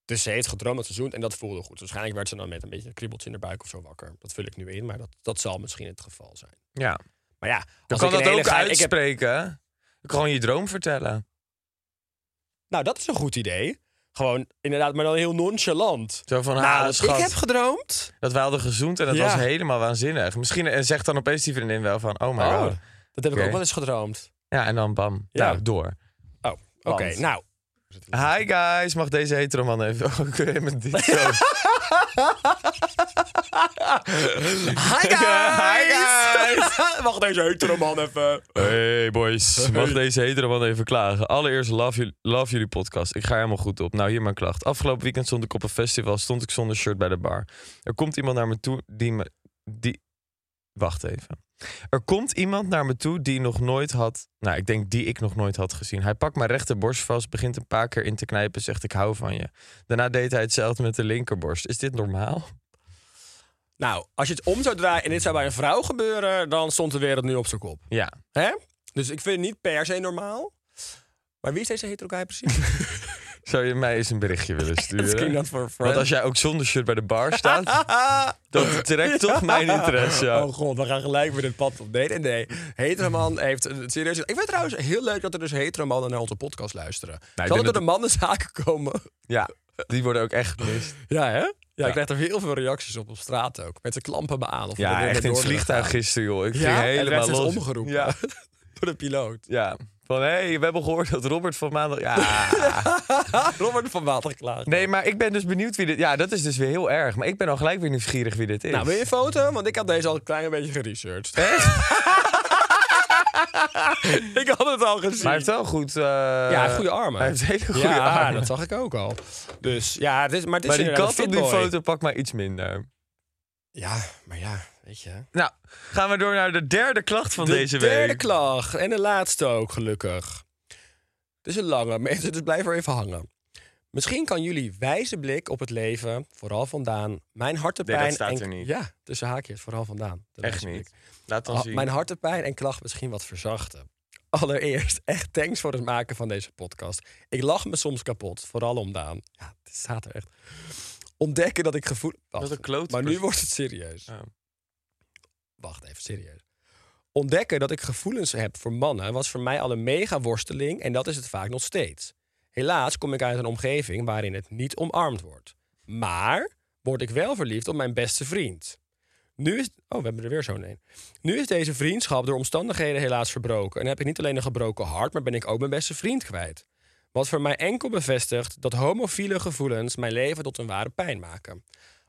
Dus ze heeft gedroomd dat ze zoent en dat voelde goed. Dus Waarschijnlijk werd ze dan met een beetje een kriebeltje in haar buik of zo wakker. Dat vul ik nu in, maar dat, dat zal misschien het geval zijn. Ja. Maar ja, als Dan kan ik een dat hele ook geile- ik heb- uitspreken. hè? Je kan Gewoon je droom vertellen. Nou, dat is een goed idee. Gewoon inderdaad, maar dan heel nonchalant. Zo van, nou, ha, dat schat, ik heb gedroomd. dat wij hadden gezoend en dat Ja. was helemaal waanzinnig. Misschien en zegt dan opeens die vriendin wel van, oh my Oh, god. dat heb ik Oké. ook wel eens gedroomd. Ja, en dan bam. Ja. Nou, door. Oh, oké. Want- Nou, Hi guys, mag deze heteroman even... Oh, ik wil helemaal dit zo. Hi Hi guys! Wacht deze hetero man even. Hey boys, mag deze heteroman even klagen? Allereerst love, jullie- love jullie podcast. Ik ga helemaal goed op. Nou, hier mijn klacht. Afgelopen weekend stond ik op een festival, stond ik zonder shirt bij de bar. Er komt iemand naar me toe die me... Die... Wacht even. Er komt iemand naar me toe die nog nooit had. Nou, ik denk die ik nog nooit had gezien. Hij pakt mijn rechterborst vast, begint een paar keer in te knijpen, zegt ik hou van je. Daarna deed hij hetzelfde met de linkerborst. Is dit normaal? Nou, als je het om zou draaien en dit zou bij een vrouw gebeuren, dan stond de wereld nu op zijn kop. Ja. Hè? Dus ik vind het niet per se normaal. Maar wie is deze hetero guy precies? Zou je mij eens een berichtje willen Misschien sturen? dat voor Want friend. als jij ook zonder shirt bij de bar staat, dat trekt toch mijn interesse. Oh god, we gaan gelijk weer het pad op. Nee, nee, nee. Hetero man heeft een serieus... Ik vind het trouwens heel leuk dat er dus hetero mannen naar onze podcast luisteren. Nou, ik Zal denk het door dat- de mannenzaken komen? Ja, die worden ook echt gemist. Ja, hè? Ja, ik krijg er heel veel reacties op op straat ook. Mensen klampen me aan. Of Ja, echt in het vliegtuig gisteren, joh. Ik ging Ja, en de helemaal rest is los. omgeroepen. Ja, Door de piloot. ja. Van, hé, hey, we hebben gehoord dat Robert van maandag... Ja, Robert van Water geklaagd. Nee, maar ik ben dus benieuwd wie dit... Ja, dat is dus weer heel erg. Maar ik ben al gelijk weer nieuwsgierig wie dit is. Nou, wil je een foto? Want ik had deze al een klein beetje geresearched. ik had het al gezien. Maar hij heeft wel goed... eh, ja, hij heeft goede armen. Hij heeft hele goede ja, armen. dat zag ik ook al. Dus ja, het is, maar het is maar die inderdaad kat een op die fitboy. foto pakt mij iets minder. Ja, maar ja, weet je. Nou, gaan we door naar de derde klacht van de deze derde week. klacht. En de laatste ook, gelukkig. Het is een lange, mensen, dus blijf er even hangen. Misschien kan jullie wijze blik op het leven, vooral vandaan, mijn hartepijn... Nee, dat staat en- er niet. Ja, tussen haakjes, vooral vandaan. de Echt wijze blik. niet. Laat dan Ha- zien. Ah, mijn hartepijn en klacht misschien wat verzachten. Allereerst, echt thanks voor het maken van deze podcast. Ik lach me soms kapot, vooral om Daan. Ja, het staat er echt. Ontdekken dat ik gevoel... Wacht, een klote Ah. Oh. maar nu pers- wordt het serieus. Ja. Wacht even, serieus. Ontdekken dat ik gevoelens heb voor mannen was voor mij al een mega worsteling en dat is het vaak nog steeds. Helaas kom ik uit een omgeving waarin het niet omarmd wordt. Maar word ik wel verliefd op mijn beste vriend. Nu is. Oh, we hebben er weer zo'n een. Nu is deze vriendschap door omstandigheden helaas verbroken. En heb ik niet alleen een gebroken hart, maar ben ik ook mijn beste vriend kwijt. Wat voor mij enkel bevestigt dat homofiele gevoelens mijn leven tot een ware pijn maken.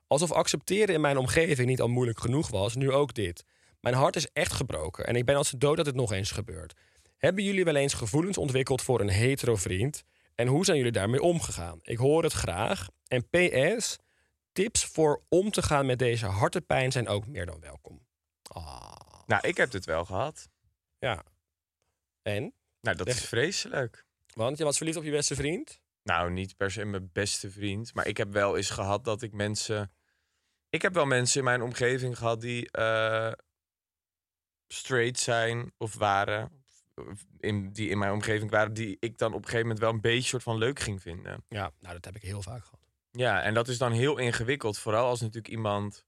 Alsof accepteren in mijn omgeving niet al moeilijk genoeg was, nu ook dit. Mijn hart is echt gebroken en ik ben als de dood dat het nog eens gebeurt. Hebben jullie wel eens gevoelens ontwikkeld voor een hetero vriend? En hoe zijn jullie daarmee omgegaan? Ik hoor het graag. En PS, tips voor om te gaan met deze hartepijn zijn ook meer dan welkom. Ah, Nou, ik heb dit wel gehad. ja. En? Nou, dat is Echt? vreselijk. Want je was verliefd op je beste vriend? Nou, niet per se mijn beste vriend. Maar ik heb wel eens gehad dat ik mensen. Ik heb wel mensen in mijn omgeving gehad die eh, straight zijn of waren. Of In, die in mijn omgeving waren, die ik dan op een gegeven moment wel een beetje soort van leuk ging vinden. Ja. Nou, dat heb ik heel vaak gehad. Ja, en dat is dan heel ingewikkeld. Vooral als natuurlijk iemand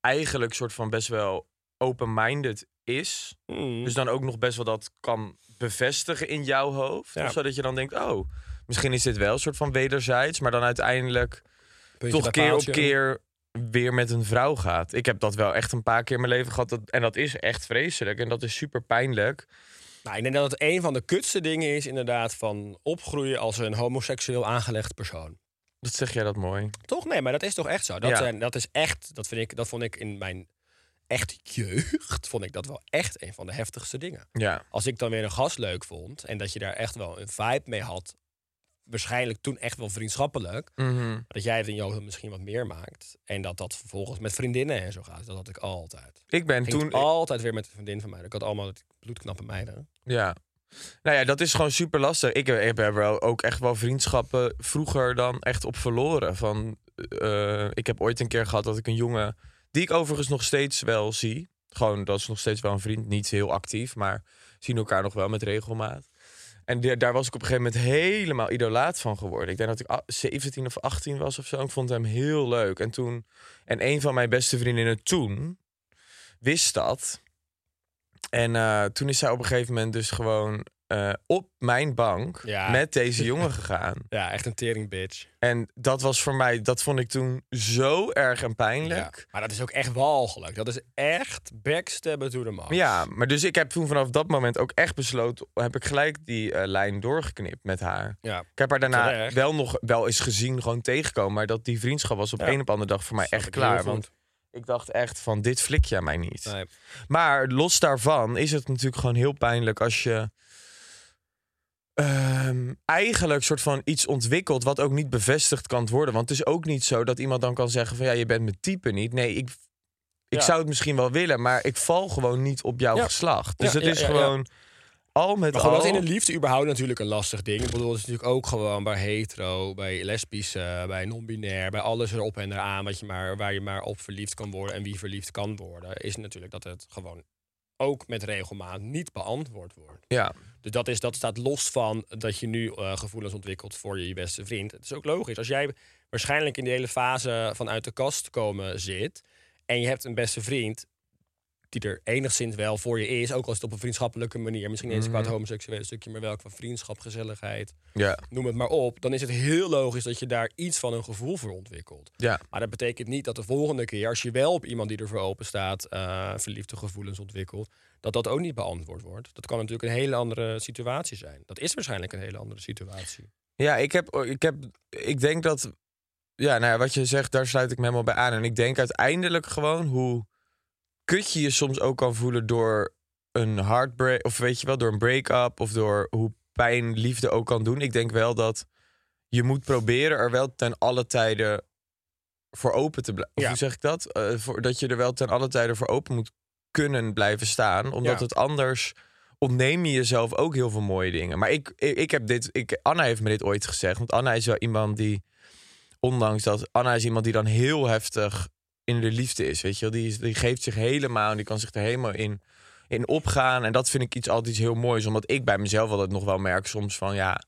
eigenlijk soort van best wel open-minded is. Hmm. Dus dan ook nog best wel dat kan bevestigen in jouw hoofd. Ja. Of zodat je dan denkt, oh, misschien is dit wel een soort van wederzijds. Maar dan uiteindelijk Puntje toch bij keer op paaltje. keer weer met een vrouw gaat. Ik heb dat wel echt een paar keer in mijn leven gehad. Dat, en dat is echt vreselijk. En dat is super pijnlijk. Nou, ik denk dat het een van de kutste dingen is inderdaad van opgroeien als een homoseksueel aangelegd persoon. Dat zeg jij dat mooi. Toch? Nee, maar dat is toch echt zo? Dat, Ja. zijn, dat is echt, dat, vind ik, dat vond ik in mijn echt jeugd, vond ik dat wel echt een van de heftigste dingen. Ja. als ik dan weer een gast leuk vond en dat je daar echt wel een vibe mee had, waarschijnlijk toen echt wel vriendschappelijk, Mhm. dat jij het in je hoofd misschien wat meer maakt en dat dat vervolgens met vriendinnen en zo gaat, dat had ik altijd. Ik ben Ging toen... toen altijd weer met een vriendin van mij. Ik had allemaal bloedknappe meiden. Ja. Nou ja, dat is gewoon super lastig. Ik heb, ik heb er wel ook echt wel vriendschappen vroeger dan echt op verloren. Van, eh, ik heb ooit een keer gehad dat ik een jongen, die ik overigens nog steeds wel zie. Gewoon, dat is nog steeds wel een vriend. Niet heel actief, maar zien elkaar nog wel met regelmaat. En daar- daar was ik op een gegeven moment helemaal idolaat van geworden. Ik denk dat ik a- 17 of 18 was of zo. Ik vond hem heel leuk. En toen, en een van mijn beste vriendinnen toen wist dat. En eh, toen is zij op een gegeven moment dus gewoon eh, op mijn bank Ja. met deze jongen gegaan. Ja, echt een tering bitch. En dat was voor mij, dat vond ik toen zo erg en pijnlijk. Maar dat is ook echt walgelijk. Dat is echt backstabben to the max. Ja. maar dus ik heb toen vanaf dat moment ook echt besloten, heb ik gelijk die eh, lijn doorgeknipt met haar. Ja. Ik heb haar daarna Terecht. wel nog wel eens gezien, gewoon tegenkomen. Maar dat die vriendschap was op Ja. een op andere dag voor mij Snap echt ik heel klaar. goed. Want ik dacht echt van, dit flik jij mij niet. Nee. Maar los daarvan is het natuurlijk gewoon heel pijnlijk als je ehm, eigenlijk soort van iets ontwikkelt wat ook niet bevestigd kan worden. Want het is ook niet zo dat iemand dan kan zeggen van ja, je bent mijn type niet. Nee, ik, Ik Ja. zou het misschien wel willen, maar ik val gewoon niet op jouw Ja. geslacht. Dus Ja, het ja, is ja, ja. gewoon al met Maar al. gewoon dat in de liefde überhaupt natuurlijk een lastig ding. Ik bedoel, dat is natuurlijk ook gewoon bij hetero, bij lesbische, bij non-binair, bij alles erop en eraan wat je maar, waar je maar op verliefd kan worden en wie verliefd kan worden, is natuurlijk dat het gewoon ook met regelmaat niet beantwoord wordt. Ja. Dus dat, is, dat staat los van dat je nu eh, gevoelens ontwikkelt voor je, je beste vriend. Het is ook logisch. Als jij waarschijnlijk in die hele fase van uit de kast komen zit. en je hebt een beste vriend. die er enigszins wel voor je is. ook als het op een vriendschappelijke manier. misschien eens qua het homoseksuele stukje. maar wel qua vriendschap, gezelligheid. Ja. noem het maar op. dan is het heel logisch dat je daar iets van een gevoel voor ontwikkelt. Ja. Maar dat betekent niet dat de volgende keer. als je wel op iemand die ervoor open staat. eh, verliefde gevoelens ontwikkelt. dat dat ook niet beantwoord wordt. Dat kan natuurlijk een hele andere situatie zijn. Dat is waarschijnlijk een hele andere situatie. Ja, ik heb, ik heb, ik denk dat, ja, nou ja, wat je zegt, daar sluit ik me helemaal bij aan. En ik denk uiteindelijk gewoon hoe kut je je soms ook kan voelen door een heartbreak, of weet je wel, door een break-up, of door hoe pijn liefde ook kan doen. Ik denk wel dat je moet proberen er wel ten alle tijden voor open te blijven. Ja. Hoe zeg ik dat? Eh, voor, dat je er wel ten alle tijden voor open moet kunnen blijven staan, omdat Ja. het anders ontneem je jezelf ook heel veel mooie dingen. Maar ik, ik, ik heb dit, ik, Anna heeft me dit ooit gezegd. Want Anna is wel iemand die, ondanks dat, Anna is iemand die dan heel heftig in de liefde is. Weet je wel, die, is- die geeft zich helemaal en die kan zich er helemaal in, in opgaan. En dat vind ik iets altijd iets heel moois, omdat ik bij mezelf altijd nog wel merk soms van ja.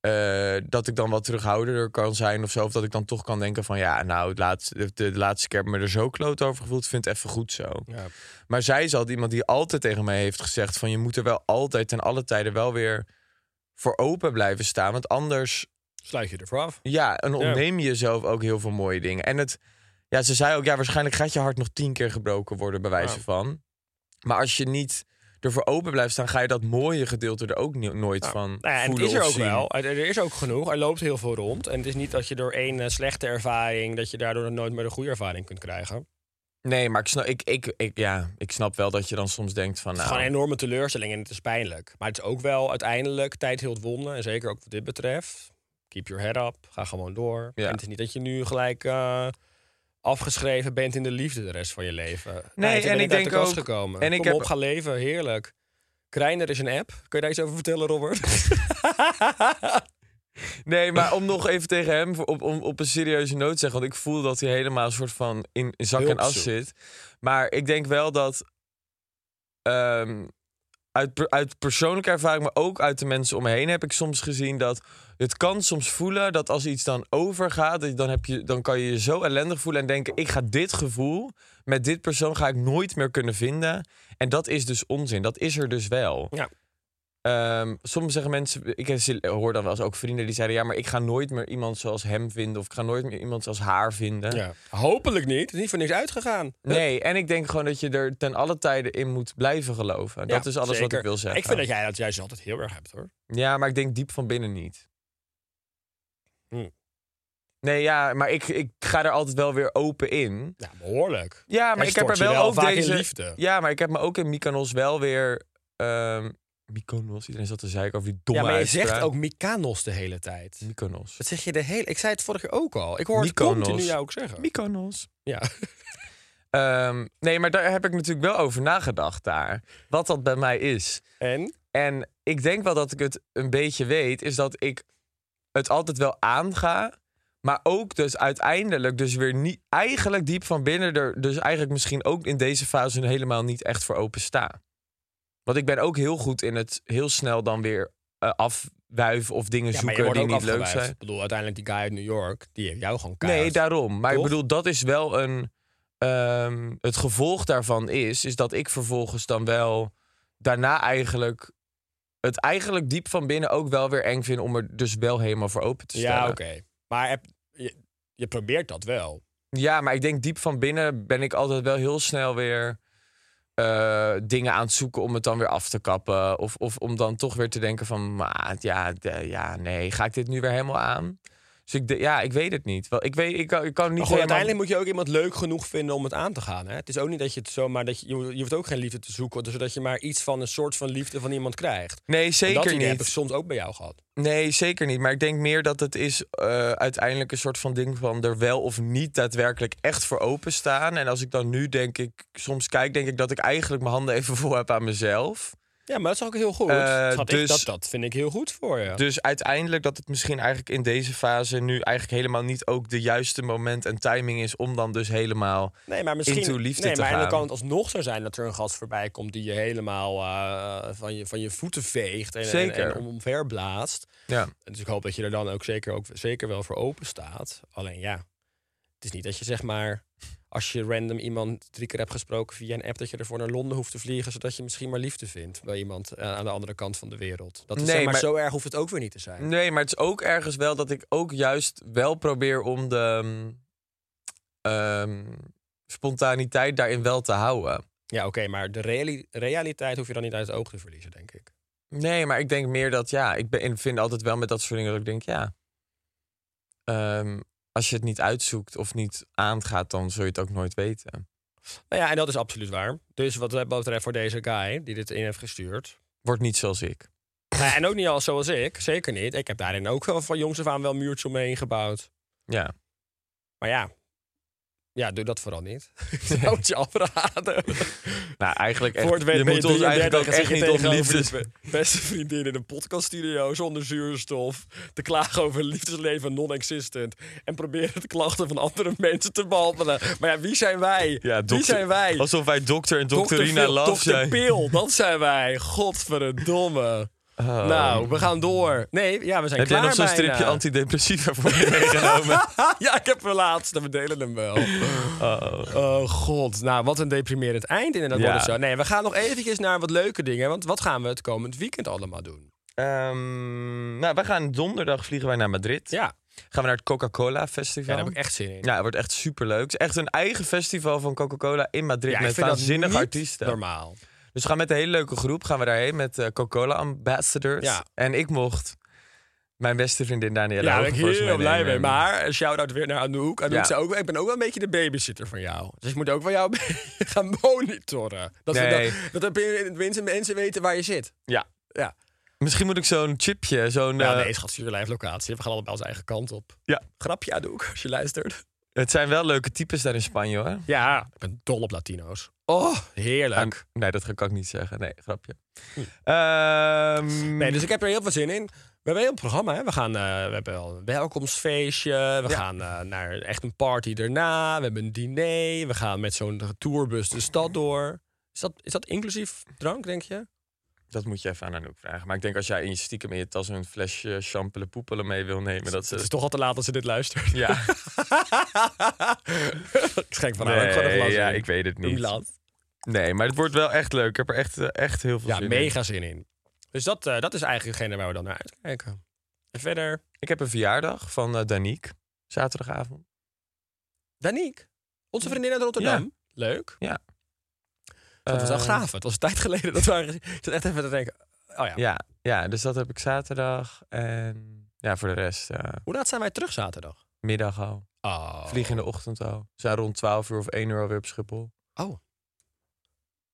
eh, dat ik dan wat terughoudender kan zijn of zo. Of dat ik dan toch kan denken van... ja, nou, het laatste, de, de laatste keer heb ik me er zo kloot over gevoeld. Vind het even goed zo. Ja. Maar zij is altijd iemand die altijd tegen mij heeft gezegd: van je moet er wel altijd ten alle tijden wel weer voor open blijven staan. Want anders, Sluit je ervoor af. ja, en ontneem je jezelf ook heel veel mooie dingen. En het, ja, ze zei ook: ja, waarschijnlijk gaat je hart nog tien keer gebroken worden, bij wijze Ja. van. Maar als je niet ervoor open blijft staan, ga je dat mooie gedeelte er ook ni- nooit van. Nou ja, en het voelen is er of ook zien. wel. Er er is ook genoeg. Er loopt heel veel rond. En het is niet dat je door één eh, slechte ervaring... dat je daardoor nooit meer een goede ervaring kunt krijgen. Het Nee, maar ik snap, ik, ik, ik, ja, ik snap wel dat je dan soms denkt van. is Nou, gewoon een enorme teleurstelling en het is pijnlijk. Maar het is ook wel uiteindelijk tijd heel het wonden. En zeker ook wat dit betreft. Keep your head up. Ga gewoon door. Ja. En het is niet dat je nu gelijk... eh, afgeschreven bent in de liefde de rest van je leven. Tijd, je en bent uit ik denk de kast ook- gekomen. en ik Kom heb- op, ga leven. Heerlijk. Kreiner is een app. Kun je daar iets over vertellen, Robert? Nee, maar om nog even tegen hem voor- op, om, op een serieuze noot te zeggen. Want ik voel dat hij helemaal een soort van in, in zak en Hulp as zoekt. zit. Maar ik denk wel dat. ehm, uit, per- uit persoonlijke ervaring, maar ook uit de mensen om me heen, heb ik soms gezien dat het kan soms voelen dat als iets dan overgaat, dat je- dan, heb je, dan kan je je zo ellendig voelen en denken: ik ga dit gevoel met dit persoon ga ik nooit meer kunnen vinden. En dat is dus onzin. Dat is er dus wel. Ja. Ehm, soms zeggen mensen, ik zie- hoor dan wel eens ook vrienden die zeiden: ja, maar ik ga nooit meer iemand zoals hem vinden of ik ga nooit meer iemand zoals haar vinden. ja. Hopelijk niet. Het is niet voor niks uitgegaan. Nee, en ik denk gewoon dat je er ten alle tijden in moet blijven geloven. Dat Ja, is alles wat zeker. ik wil zeggen. Ik vind dat jij dat juist altijd heel erg hebt hoor. Ja, maar ik denk diep van binnen niet. Hmm. Nee, ja, maar ik, ik ga er altijd wel weer open in. Ja, behoorlijk. Ja, maar Jij ik heb er stort je wel, wel ook vaak in deze... liefde. Ja, maar ik heb me ook in Mykonos wel weer... ehm Mykonos, iedereen zat te zeiken over die domme Ja, maar je zegt uitspraak. ook Mykonos de hele tijd. Mykonos. Dat zeg je de hele... Ik zei het vorige keer ook al. Ik hoor het Mykonos. continu jou ook zeggen. Mykonos. Ja. Ehm, nee, maar daar heb ik natuurlijk wel over nagedacht daar. Wat dat bij mij is. En? En ik denk wel dat ik het een beetje weet, is dat ik het altijd wel aanga. Maar ook dus uiteindelijk dus weer niet... Eigenlijk diep van binnen er dus eigenlijk misschien ook in deze fase helemaal niet echt voor open sta. Want ik ben ook heel goed in het heel snel dan weer eh, afwuiven of dingen Ja, maar je zoeken wordt die ook niet leuk afgewijfd. zijn. Ik bedoel, uiteindelijk die guy uit New York, die heeft jou gewoon keihard. Nee, daarom. Maar Toch? ik bedoel, dat is wel een. ehm, het gevolg daarvan is, is dat ik vervolgens dan wel daarna eigenlijk. Het eigenlijk diep van binnen ook wel weer eng vind om er dus wel helemaal voor open te stellen. Ja, oké. Maar heb- je, je probeert dat wel. Ja, maar ik denk diep van binnen ben ik altijd wel heel snel weer eh, dingen aan het zoeken om het dan weer af te kappen. Of, of om dan toch weer te denken van, maar ja, de- ja, nee, ga ik dit nu weer helemaal aan? Dus ik, de- ja, ik weet het niet. Wel, ik, weet, ik, kan, ik kan niet Maar goed, helemaal- uiteindelijk moet je ook iemand leuk genoeg vinden om het aan te gaan. Hè? Het is ook niet dat je het zomaar... Dat je, je hoeft ook geen liefde te zoeken, dus zodat je maar iets van een soort van liefde van iemand krijgt. Nee, En dat zeker idee heb ik niet. soms ook bij jou gehad. Nee, zeker niet. Maar ik denk meer dat het is eh, uiteindelijk een soort van ding van er wel of niet daadwerkelijk echt voor openstaan. En als ik dan nu denk ik, soms kijk, denk ik dat ik eigenlijk mijn handen even vol heb aan mezelf. Ja, maar dat is ook heel goed. Eh, Schat, ik, dus- dat, dat vind ik heel goed voor je. Dus uiteindelijk dat het misschien eigenlijk in deze fase nu eigenlijk helemaal niet ook de juiste moment en timing is om dan dus helemaal. nee, maar misschien, into liefde nee, te maar en dan gaan. kan het alsnog zo zijn dat er een gast voorbij komt die je helemaal eh, van, je, van je voeten veegt en, en- Zeker. en, omver blaast. Ja. Dus ik hoop dat je er dan ook zeker, ook zeker wel voor open staat. Alleen ja, het is niet dat je zeg maar, als je random iemand drie keer hebt gesproken via een app, dat je ervoor naar Londen hoeft te vliegen, zodat je misschien maar liefde vindt bij iemand eh, aan de andere kant van de wereld. Dat is, Nee, zeg maar, maar- zo erg hoeft het ook weer niet te zijn. Nee, maar het is ook ergens wel dat ik ook juist wel probeer om de ehm, ehm, spontaniteit daarin wel te houden. Ja, oké, maar de reali- realiteit hoef je dan niet uit het oog te verliezen, denk ik. Nee, maar ik denk meer dat ja, ik ben, ik vind altijd wel met dat soort dingen dat ik denk ja. ehm, als je het niet uitzoekt of niet aangaat, dan zul je het ook nooit weten. Nou ja, en dat is absoluut waar. Dus wat dat betreft voor deze guy die dit in heeft gestuurd. Wordt niet zoals ik. Nou ja, en ook niet al zoals ik, zeker niet. Ik heb daarin ook wel van jongs af aan wel een muurtje omheen gebouwd. Ja. Maar ja, ja doe dat vooral niet. Ik zou het je afraden. Nou, eigenlijk echt. Voor het weet je ben moet 33 ons eigenlijk ook en zit echt je niet om tegenover liefdes. je be- Beste vriendin in een podcaststudio zonder zuurstof. Te klagen over liefdesleven non-existent. En proberen de klachten van andere mensen te behandelen. Maar ja, wie zijn wij? Ja, wie dokter- zijn wij? Alsof wij dokter en Dokter dokterina Phil- love Dokter zijn. Pil, dat zijn wij. Godverdomme. Oh. Nou, we gaan door. Nee, ja, we zijn Heb jij klaar nog zo'n bijna. stripje antidepressiva voor je meegenomen? ja, ik heb een laatste. We delen hem wel. Oh. god. Nou, wat een deprimerend eind inderdaad. Ja. wordt het Zo. Nee, we gaan nog eventjes naar wat leuke dingen. Want wat gaan we het komend weekend allemaal doen? Ehm, nou, wij gaan donderdag vliegen wij naar Madrid. Ja, Gaan we naar het Coca-Cola Festival. ja daar heb ik echt zin in. Ja, het wordt echt superleuk. Het is echt een eigen festival van Coca-Cola in Madrid Ja, met waanzinnige niet artiesten. normaal. Dus we gaan met een hele leuke groep gaan we daarheen met eh, Coca-Cola ambassadors. Ja. En ik mocht mijn beste vriendin Ja, Daniela daar ben ik Hogevorst heel blij mee. meenemen. Maar een shout-out weer naar Anouk. Anouk Ja. zei ook, ik ben ook wel een beetje de babysitter van jou. Dus ik moet ook wel jou gaan monitoren. Dat, we- Nee. dat, dat de mensen, mensen weten waar je zit. Ja. Ja. Misschien moet ik zo'n chipje, zo'n... Ja, eh, Nou, nee, schat, vuur live locatie. We gaan allebei onze eigen kant op. Ja. Grapje, Anouk, als je luistert. Het zijn wel leuke types daar in Spanje hoor. Ja. Ik ben dol op Latino's. Oh, heerlijk. Ah, nee, dat kan ik niet zeggen. Nee, grapje. Ehm, Nee, dus ik heb er heel veel zin in. We hebben een heel programma. Hè? We, gaan, eh, we hebben wel een welkomstfeestje. We Ja. gaan eh, naar echt een party daarna. We hebben een diner. We gaan met zo'n tourbus de stad door. Is dat, is dat inclusief drank, denk je? Dat moet je even aan Anouk vragen. Maar ik denk als jij in je stiekem in je tas een flesje champelen poepelen mee wil nemen, dat Het is ze... toch al te laat als ze dit luistert. Ja, ik schenk van haar ook gewoon een nee, glas ja, in. ik weet het Doe niet. laat. Nee, maar het wordt wel echt leuk. Ik heb er echt, eh, echt heel veel Ja, zin in. mega zin in. Dus dat, eh, dat is eigenlijk degene waar we dan naar uitkijken. En verder, Ik heb een verjaardag van eh Danique, zaterdagavond. Danique. Onze vriendin uit Rotterdam. Leuk. Dat was wel Eh, gaaf. Het was een tijd geleden dat we... haar gezien- Ik zat echt even te denken... Oh ja. Ja, ja, dus dat heb ik zaterdag. En ja, voor de rest eh, Hoe laat zijn wij terug zaterdag? middag al. Oh. Vlieg in de ochtend al. We zijn rond 12 uur of 1 uur alweer op Schiphol. Dat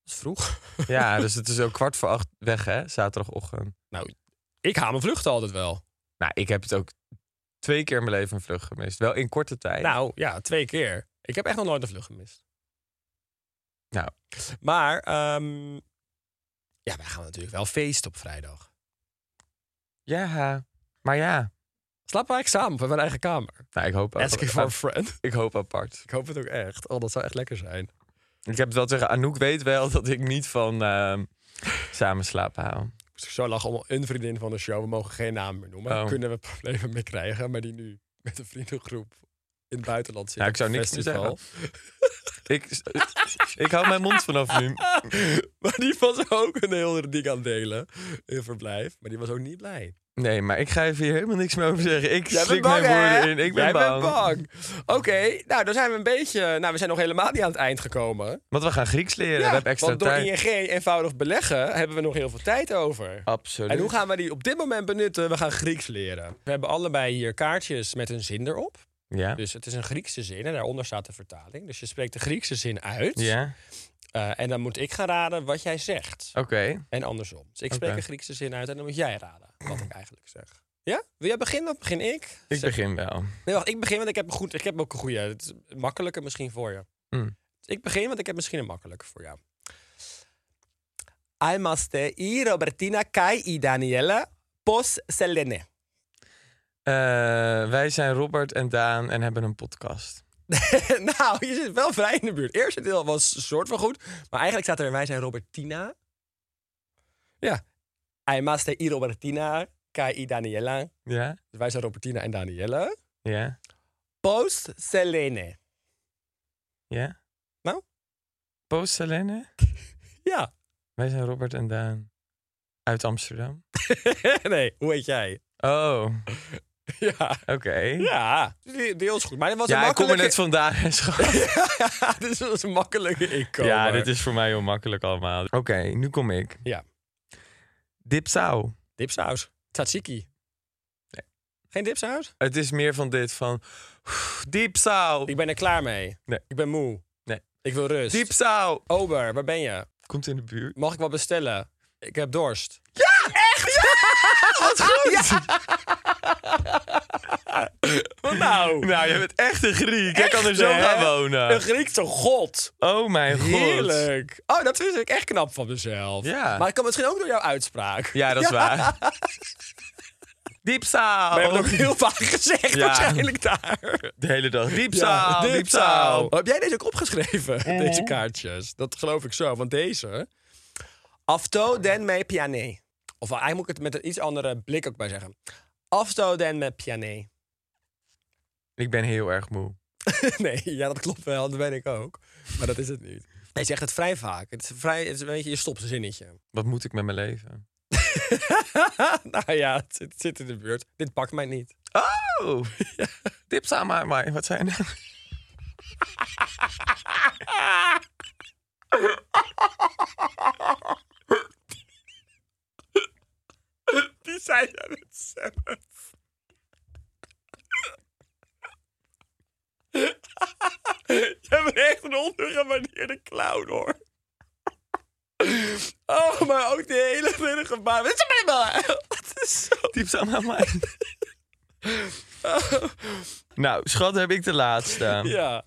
is vroeg. Ja, dus het is ook kwart voor acht weg, hè? Zaterdagochtend. Ik haal mijn vlucht altijd wel. Nou, ik heb het ook twee keer in mijn leven een vlucht gemist. Wel in korte tijd. Nou ja, twee keer. Ik heb echt nog nooit een vlucht gemist. Nou. Maar, ehm, ja, wij gaan natuurlijk wel feesten op vrijdag. Ja, maar ja. Slapen wij eigenlijk samen op in mijn eigen kamer. Nou, ik hoop, Asking for a friend. ik hoop apart. Ik hoop het ook echt. Oh, dat zou echt lekker zijn. Ik heb het wel tegen Anouk weet wel dat ik niet van ehm samen slapen hou. Ik moest zo lachen om een vriendin van de show. We mogen geen naam meer noemen. Daar Oh. kunnen we problemen mee krijgen. Maar die nu met een vriendengroep in het buitenland zit. Nou, op ik zou een niks meer festival. Ik, ik hou mijn mond vanaf nu. Maar die was ook een heel ander ding aan het delen in verblijf. Maar die was ook niet blij. Nee, maar ik ga even hier helemaal niks meer over zeggen. Ik Jij slik bent mijn bang, hè? woorden in. Ik ben Jij bang. bent bang. Oké, nou, dan zijn we een beetje... Nou, we zijn nog helemaal niet aan het eind gekomen. Want we gaan Grieks leren. Ja, we hebben extra want door tijd. ING eenvoudig beleggen hebben we nog heel veel tijd over. Absoluut. En hoe gaan we die op dit moment benutten? We gaan Grieks leren. We hebben allebei hier kaartjes met een zin erop. Ja. Dus het is een Griekse zin en daaronder staat de vertaling. Dus je spreekt de Griekse zin uit. Ja. Eh, en dan moet ik gaan raden wat jij zegt. Oké. En andersom. Dus ik spreek Oh. Oké. een Griekse zin uit en dan moet jij raden wat ik eigenlijk zeg. Ja? Wil jij beginnen of begin ik? Ik Zeg- begin wel. Nee, wacht, ik begin, want ik heb, een goed, ik heb ook een goede. Het is makkelijker misschien voor je. Mm. Ik begin, want ik heb misschien een makkelijker voor jou. Almaste i Robertina kai i Daniele pos selene. Eh, wij zijn Robert en Daan en hebben een podcast. nou, je zit wel vrij in de buurt. Eerste deel was een soort van goed, maar eigenlijk staat er wij zijn Robertina. Ja. Almaste i Robertina kai i Daniela. Ja? Dus wij zijn Robertina en Danielle. Ja? Pos selene. Ja? Nou? Post Selene? Ja. Wij zijn Robert en Daan. Uit Amsterdam. nee, hoe heet jij? Oh, Ja. oké. Ja, de- deels goed. Maar dit was Ja, een ik kom er net makkelijke... vandaan. en schat. Ja, dit was een makkelijke inkomer. Ja, dit is voor mij heel makkelijk allemaal. Oké, nu kom ik. Ja. Dipsau. Dipsaus. Tzatziki. Geen dipsaus? Het is meer van dit, van... oef, Dipsau. Ik ben er klaar mee. Nee. Ik ben moe. Nee. Ik wil rust. Dipsau. Ober, waar ben je? Komt in de buurt. Mag ik wat bestellen? Ik heb dorst. Wat goed! Wat nou? Nou, je bent echt een Griek. Jij Echt, kan er zo hè? gaan Een wonen. Griekse god. Oh mijn god. Heerlijk. Oh, dat vind ik echt knap van mezelf. Ja. Maar ik kan misschien ook door jouw uitspraak. Ja, dat is waar. We Diepzaal. hebben het ook heel vaak gezegd Ja. waarschijnlijk daar. De hele dag. Diepzaal. Ja, Oh, diepzaal. Heb jij deze ook opgeschreven? Deze kaartjes. Dat geloof ik zo. Want deze. Afto den me piané. Of wel, eigenlijk moet ik het met een iets andere blik ook bij zeggen. Afto den me piané. Ik ben heel erg moe. nee, ja, dat klopt wel. Dat weet ik ook. Maar dat is het niet. Hij zegt het vrij vaak. Het is vrij, het is een beetje je stopt zinnetje. Wat moet ik met mijn leven? nou ja, het, zit- het zit in de buurt. Dit pakt mij niet. Oh. Diepzaal, maar, maar wat zijn dat? Die zijn aan het zelf. Jij bent echt een ondergewaardeerde clown, hoor. Oh, maar ook die hele vinnige baan. Wat is er met me? Dat is zo... Diepzaal, maar, maar. Nou, schat, heb ik de laatste. Ja.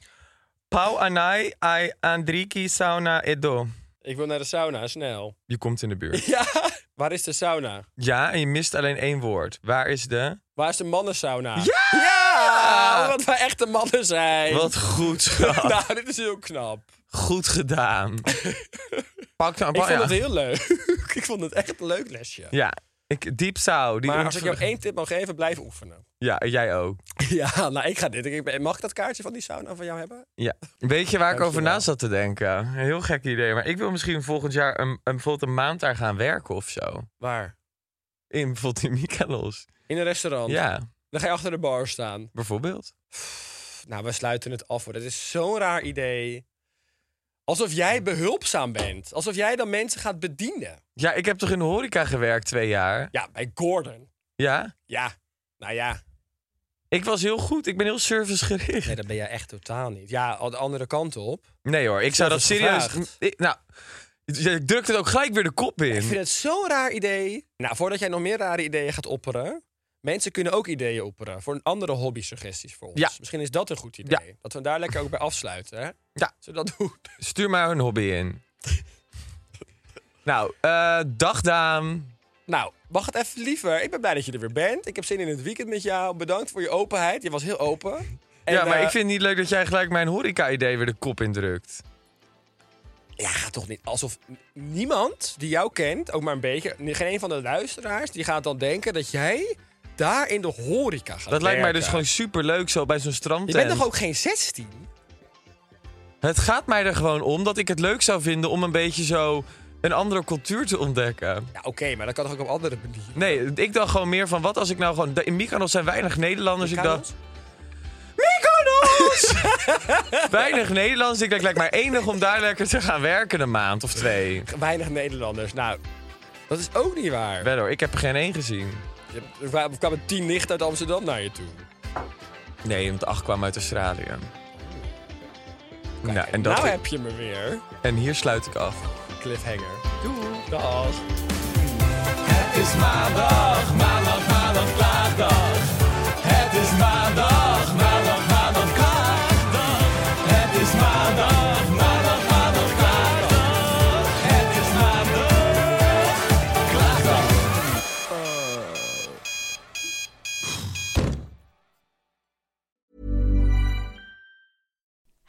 Pau anai ai andriki sauna edo. Ik wil naar de sauna, snel. Je komt in de buurt. Ja? Waar is de sauna? Ja, en je mist alleen één woord. Waar is de... Waar is de mannensauna? Ja! Ja! Omdat wij echte mannen zijn. Wat goed, schat. Nou, dit is heel knap. Goed gedaan. Pak dan Ik vond het heel leuk. ik vond het echt een leuk lesje. Ja, ik, diep zou. Die Maar als ik jou onver- één tip mag geven, blijf oefenen. Ja, jij ook. Ja, nou, ik ga dit. Ik ben- mag ik dat kaartje van die sauna van jou hebben? Ja. Weet je waar ik over Dankjewel. na zat te denken? Een heel gek idee. Maar ik wil misschien volgend jaar een, een, bijvoorbeeld een maand daar gaan werken of zo. Waar? In bijvoorbeeld in Mykonos. In een restaurant. Ja, Dan ga je achter de bar staan. bijvoorbeeld. Pff, Nou, we sluiten het af. Hoor. Dat is zo'n raar idee. Alsof jij behulpzaam bent. Alsof jij dan mensen gaat bedienen. Ja, ik heb toch in de horeca gewerkt twee jaar? Ja, bij Gordon. Ja. Ja. Nou ja, Ik was heel goed. Ik ben heel servicegericht. nee, dat ben jij echt totaal niet. Ja, al de andere kant op. Nee hoor, ik zou dat Zelfs serieus... gevraagd. Ik- nou, ik druk het ook gelijk weer de kop Ik vind in. het zo'n raar idee. Nou, voordat jij nog meer rare ideeën gaat opperen... Mensen kunnen ook ideeën opperen voor een andere hobby-suggesties voor ons. Ja. Misschien is dat een goed idee. Dat we hem daar lekker ook bij afsluiten. Hè? Ja. Zullen we dat doen? Stuur maar een hobby in. nou, eh dag Daan. Nou, mag het even liever. Ik ben blij dat je er weer bent. Ik heb zin in het weekend met jou. Bedankt voor je openheid. Je was heel open. En, ja, maar eh, ik vind het niet leuk dat jij gelijk mijn horeca-idee weer de kop indrukt. Ja, gaat toch niet. Alsof n- niemand die jou kent, ook maar een beetje... Geen een van de luisteraars, die gaat dan denken dat jij daar in de horeca gaat Dat lijkt mij werken. dus gewoon super leuk zo bij zo'n strand. Je bent toch ook geen 16? Het gaat mij er gewoon om dat ik het leuk zou vinden om een beetje zo een andere cultuur te ontdekken. Ja, oké, maar dat kan toch ook op andere manieren? Nee, ik dacht gewoon meer van wat als ik nou gewoon... In Mykonos zijn weinig Nederlanders. Ik dacht, Mykonos! weinig Nederlands. Ik dacht, lijkt mij enig om daar lekker te gaan werken een maand of twee. Weinig Nederlanders. Nou, dat is ook niet waar. Verder, ik heb er geen één gezien. Je hebt- Er kwa- er kwamen tien nichten uit Amsterdam naar je toe. Nee, want acht kwam uit Australië. Nou, en, dat nou heb je me weer. en hier sluit ik af. Cliffhanger. Doei. Dag. Het is maandag, maandag, maandag, klaagdag. Het is maandag, maandag, maandag, klaagdag. Het is maandag, maandag, maandag, klaagdag. Het is maandag, klaagdag.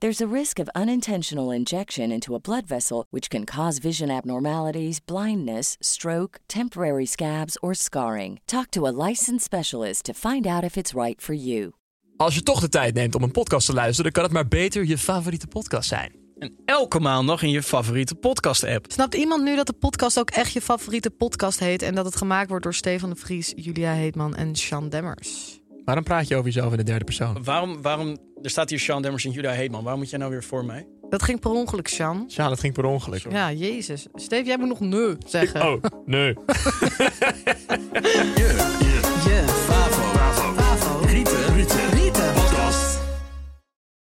There's a risk of unintentional injection into a blood vessel, which can cause vision abnormalities, blindness, stroke, temporary scabs, or scarring. Talk to a licensed specialist to find out if it's right for you. Als je toch de tijd neemt om een podcast te luisteren, dan kan het maar beter je favoriete podcast zijn. En elke maandag in je favoriete podcast-app. Snapt iemand nu dat de podcast ook echt je favoriete podcast heet en dat het gemaakt wordt door Stefan de Vries, Julia Heetman en Sean Demmers? Waarom praat je over jezelf in de derde persoon? Waarom, waarom, er staat hier Sean Demmers en Julia Heetman. Waarom moet jij nou weer voor mij? Dat ging per ongeluk, Sean. Sjaan, dat ging per ongeluk. Oh, Ja, jezus. Steef, jij moet nog nee zeggen. Oh, nee. Je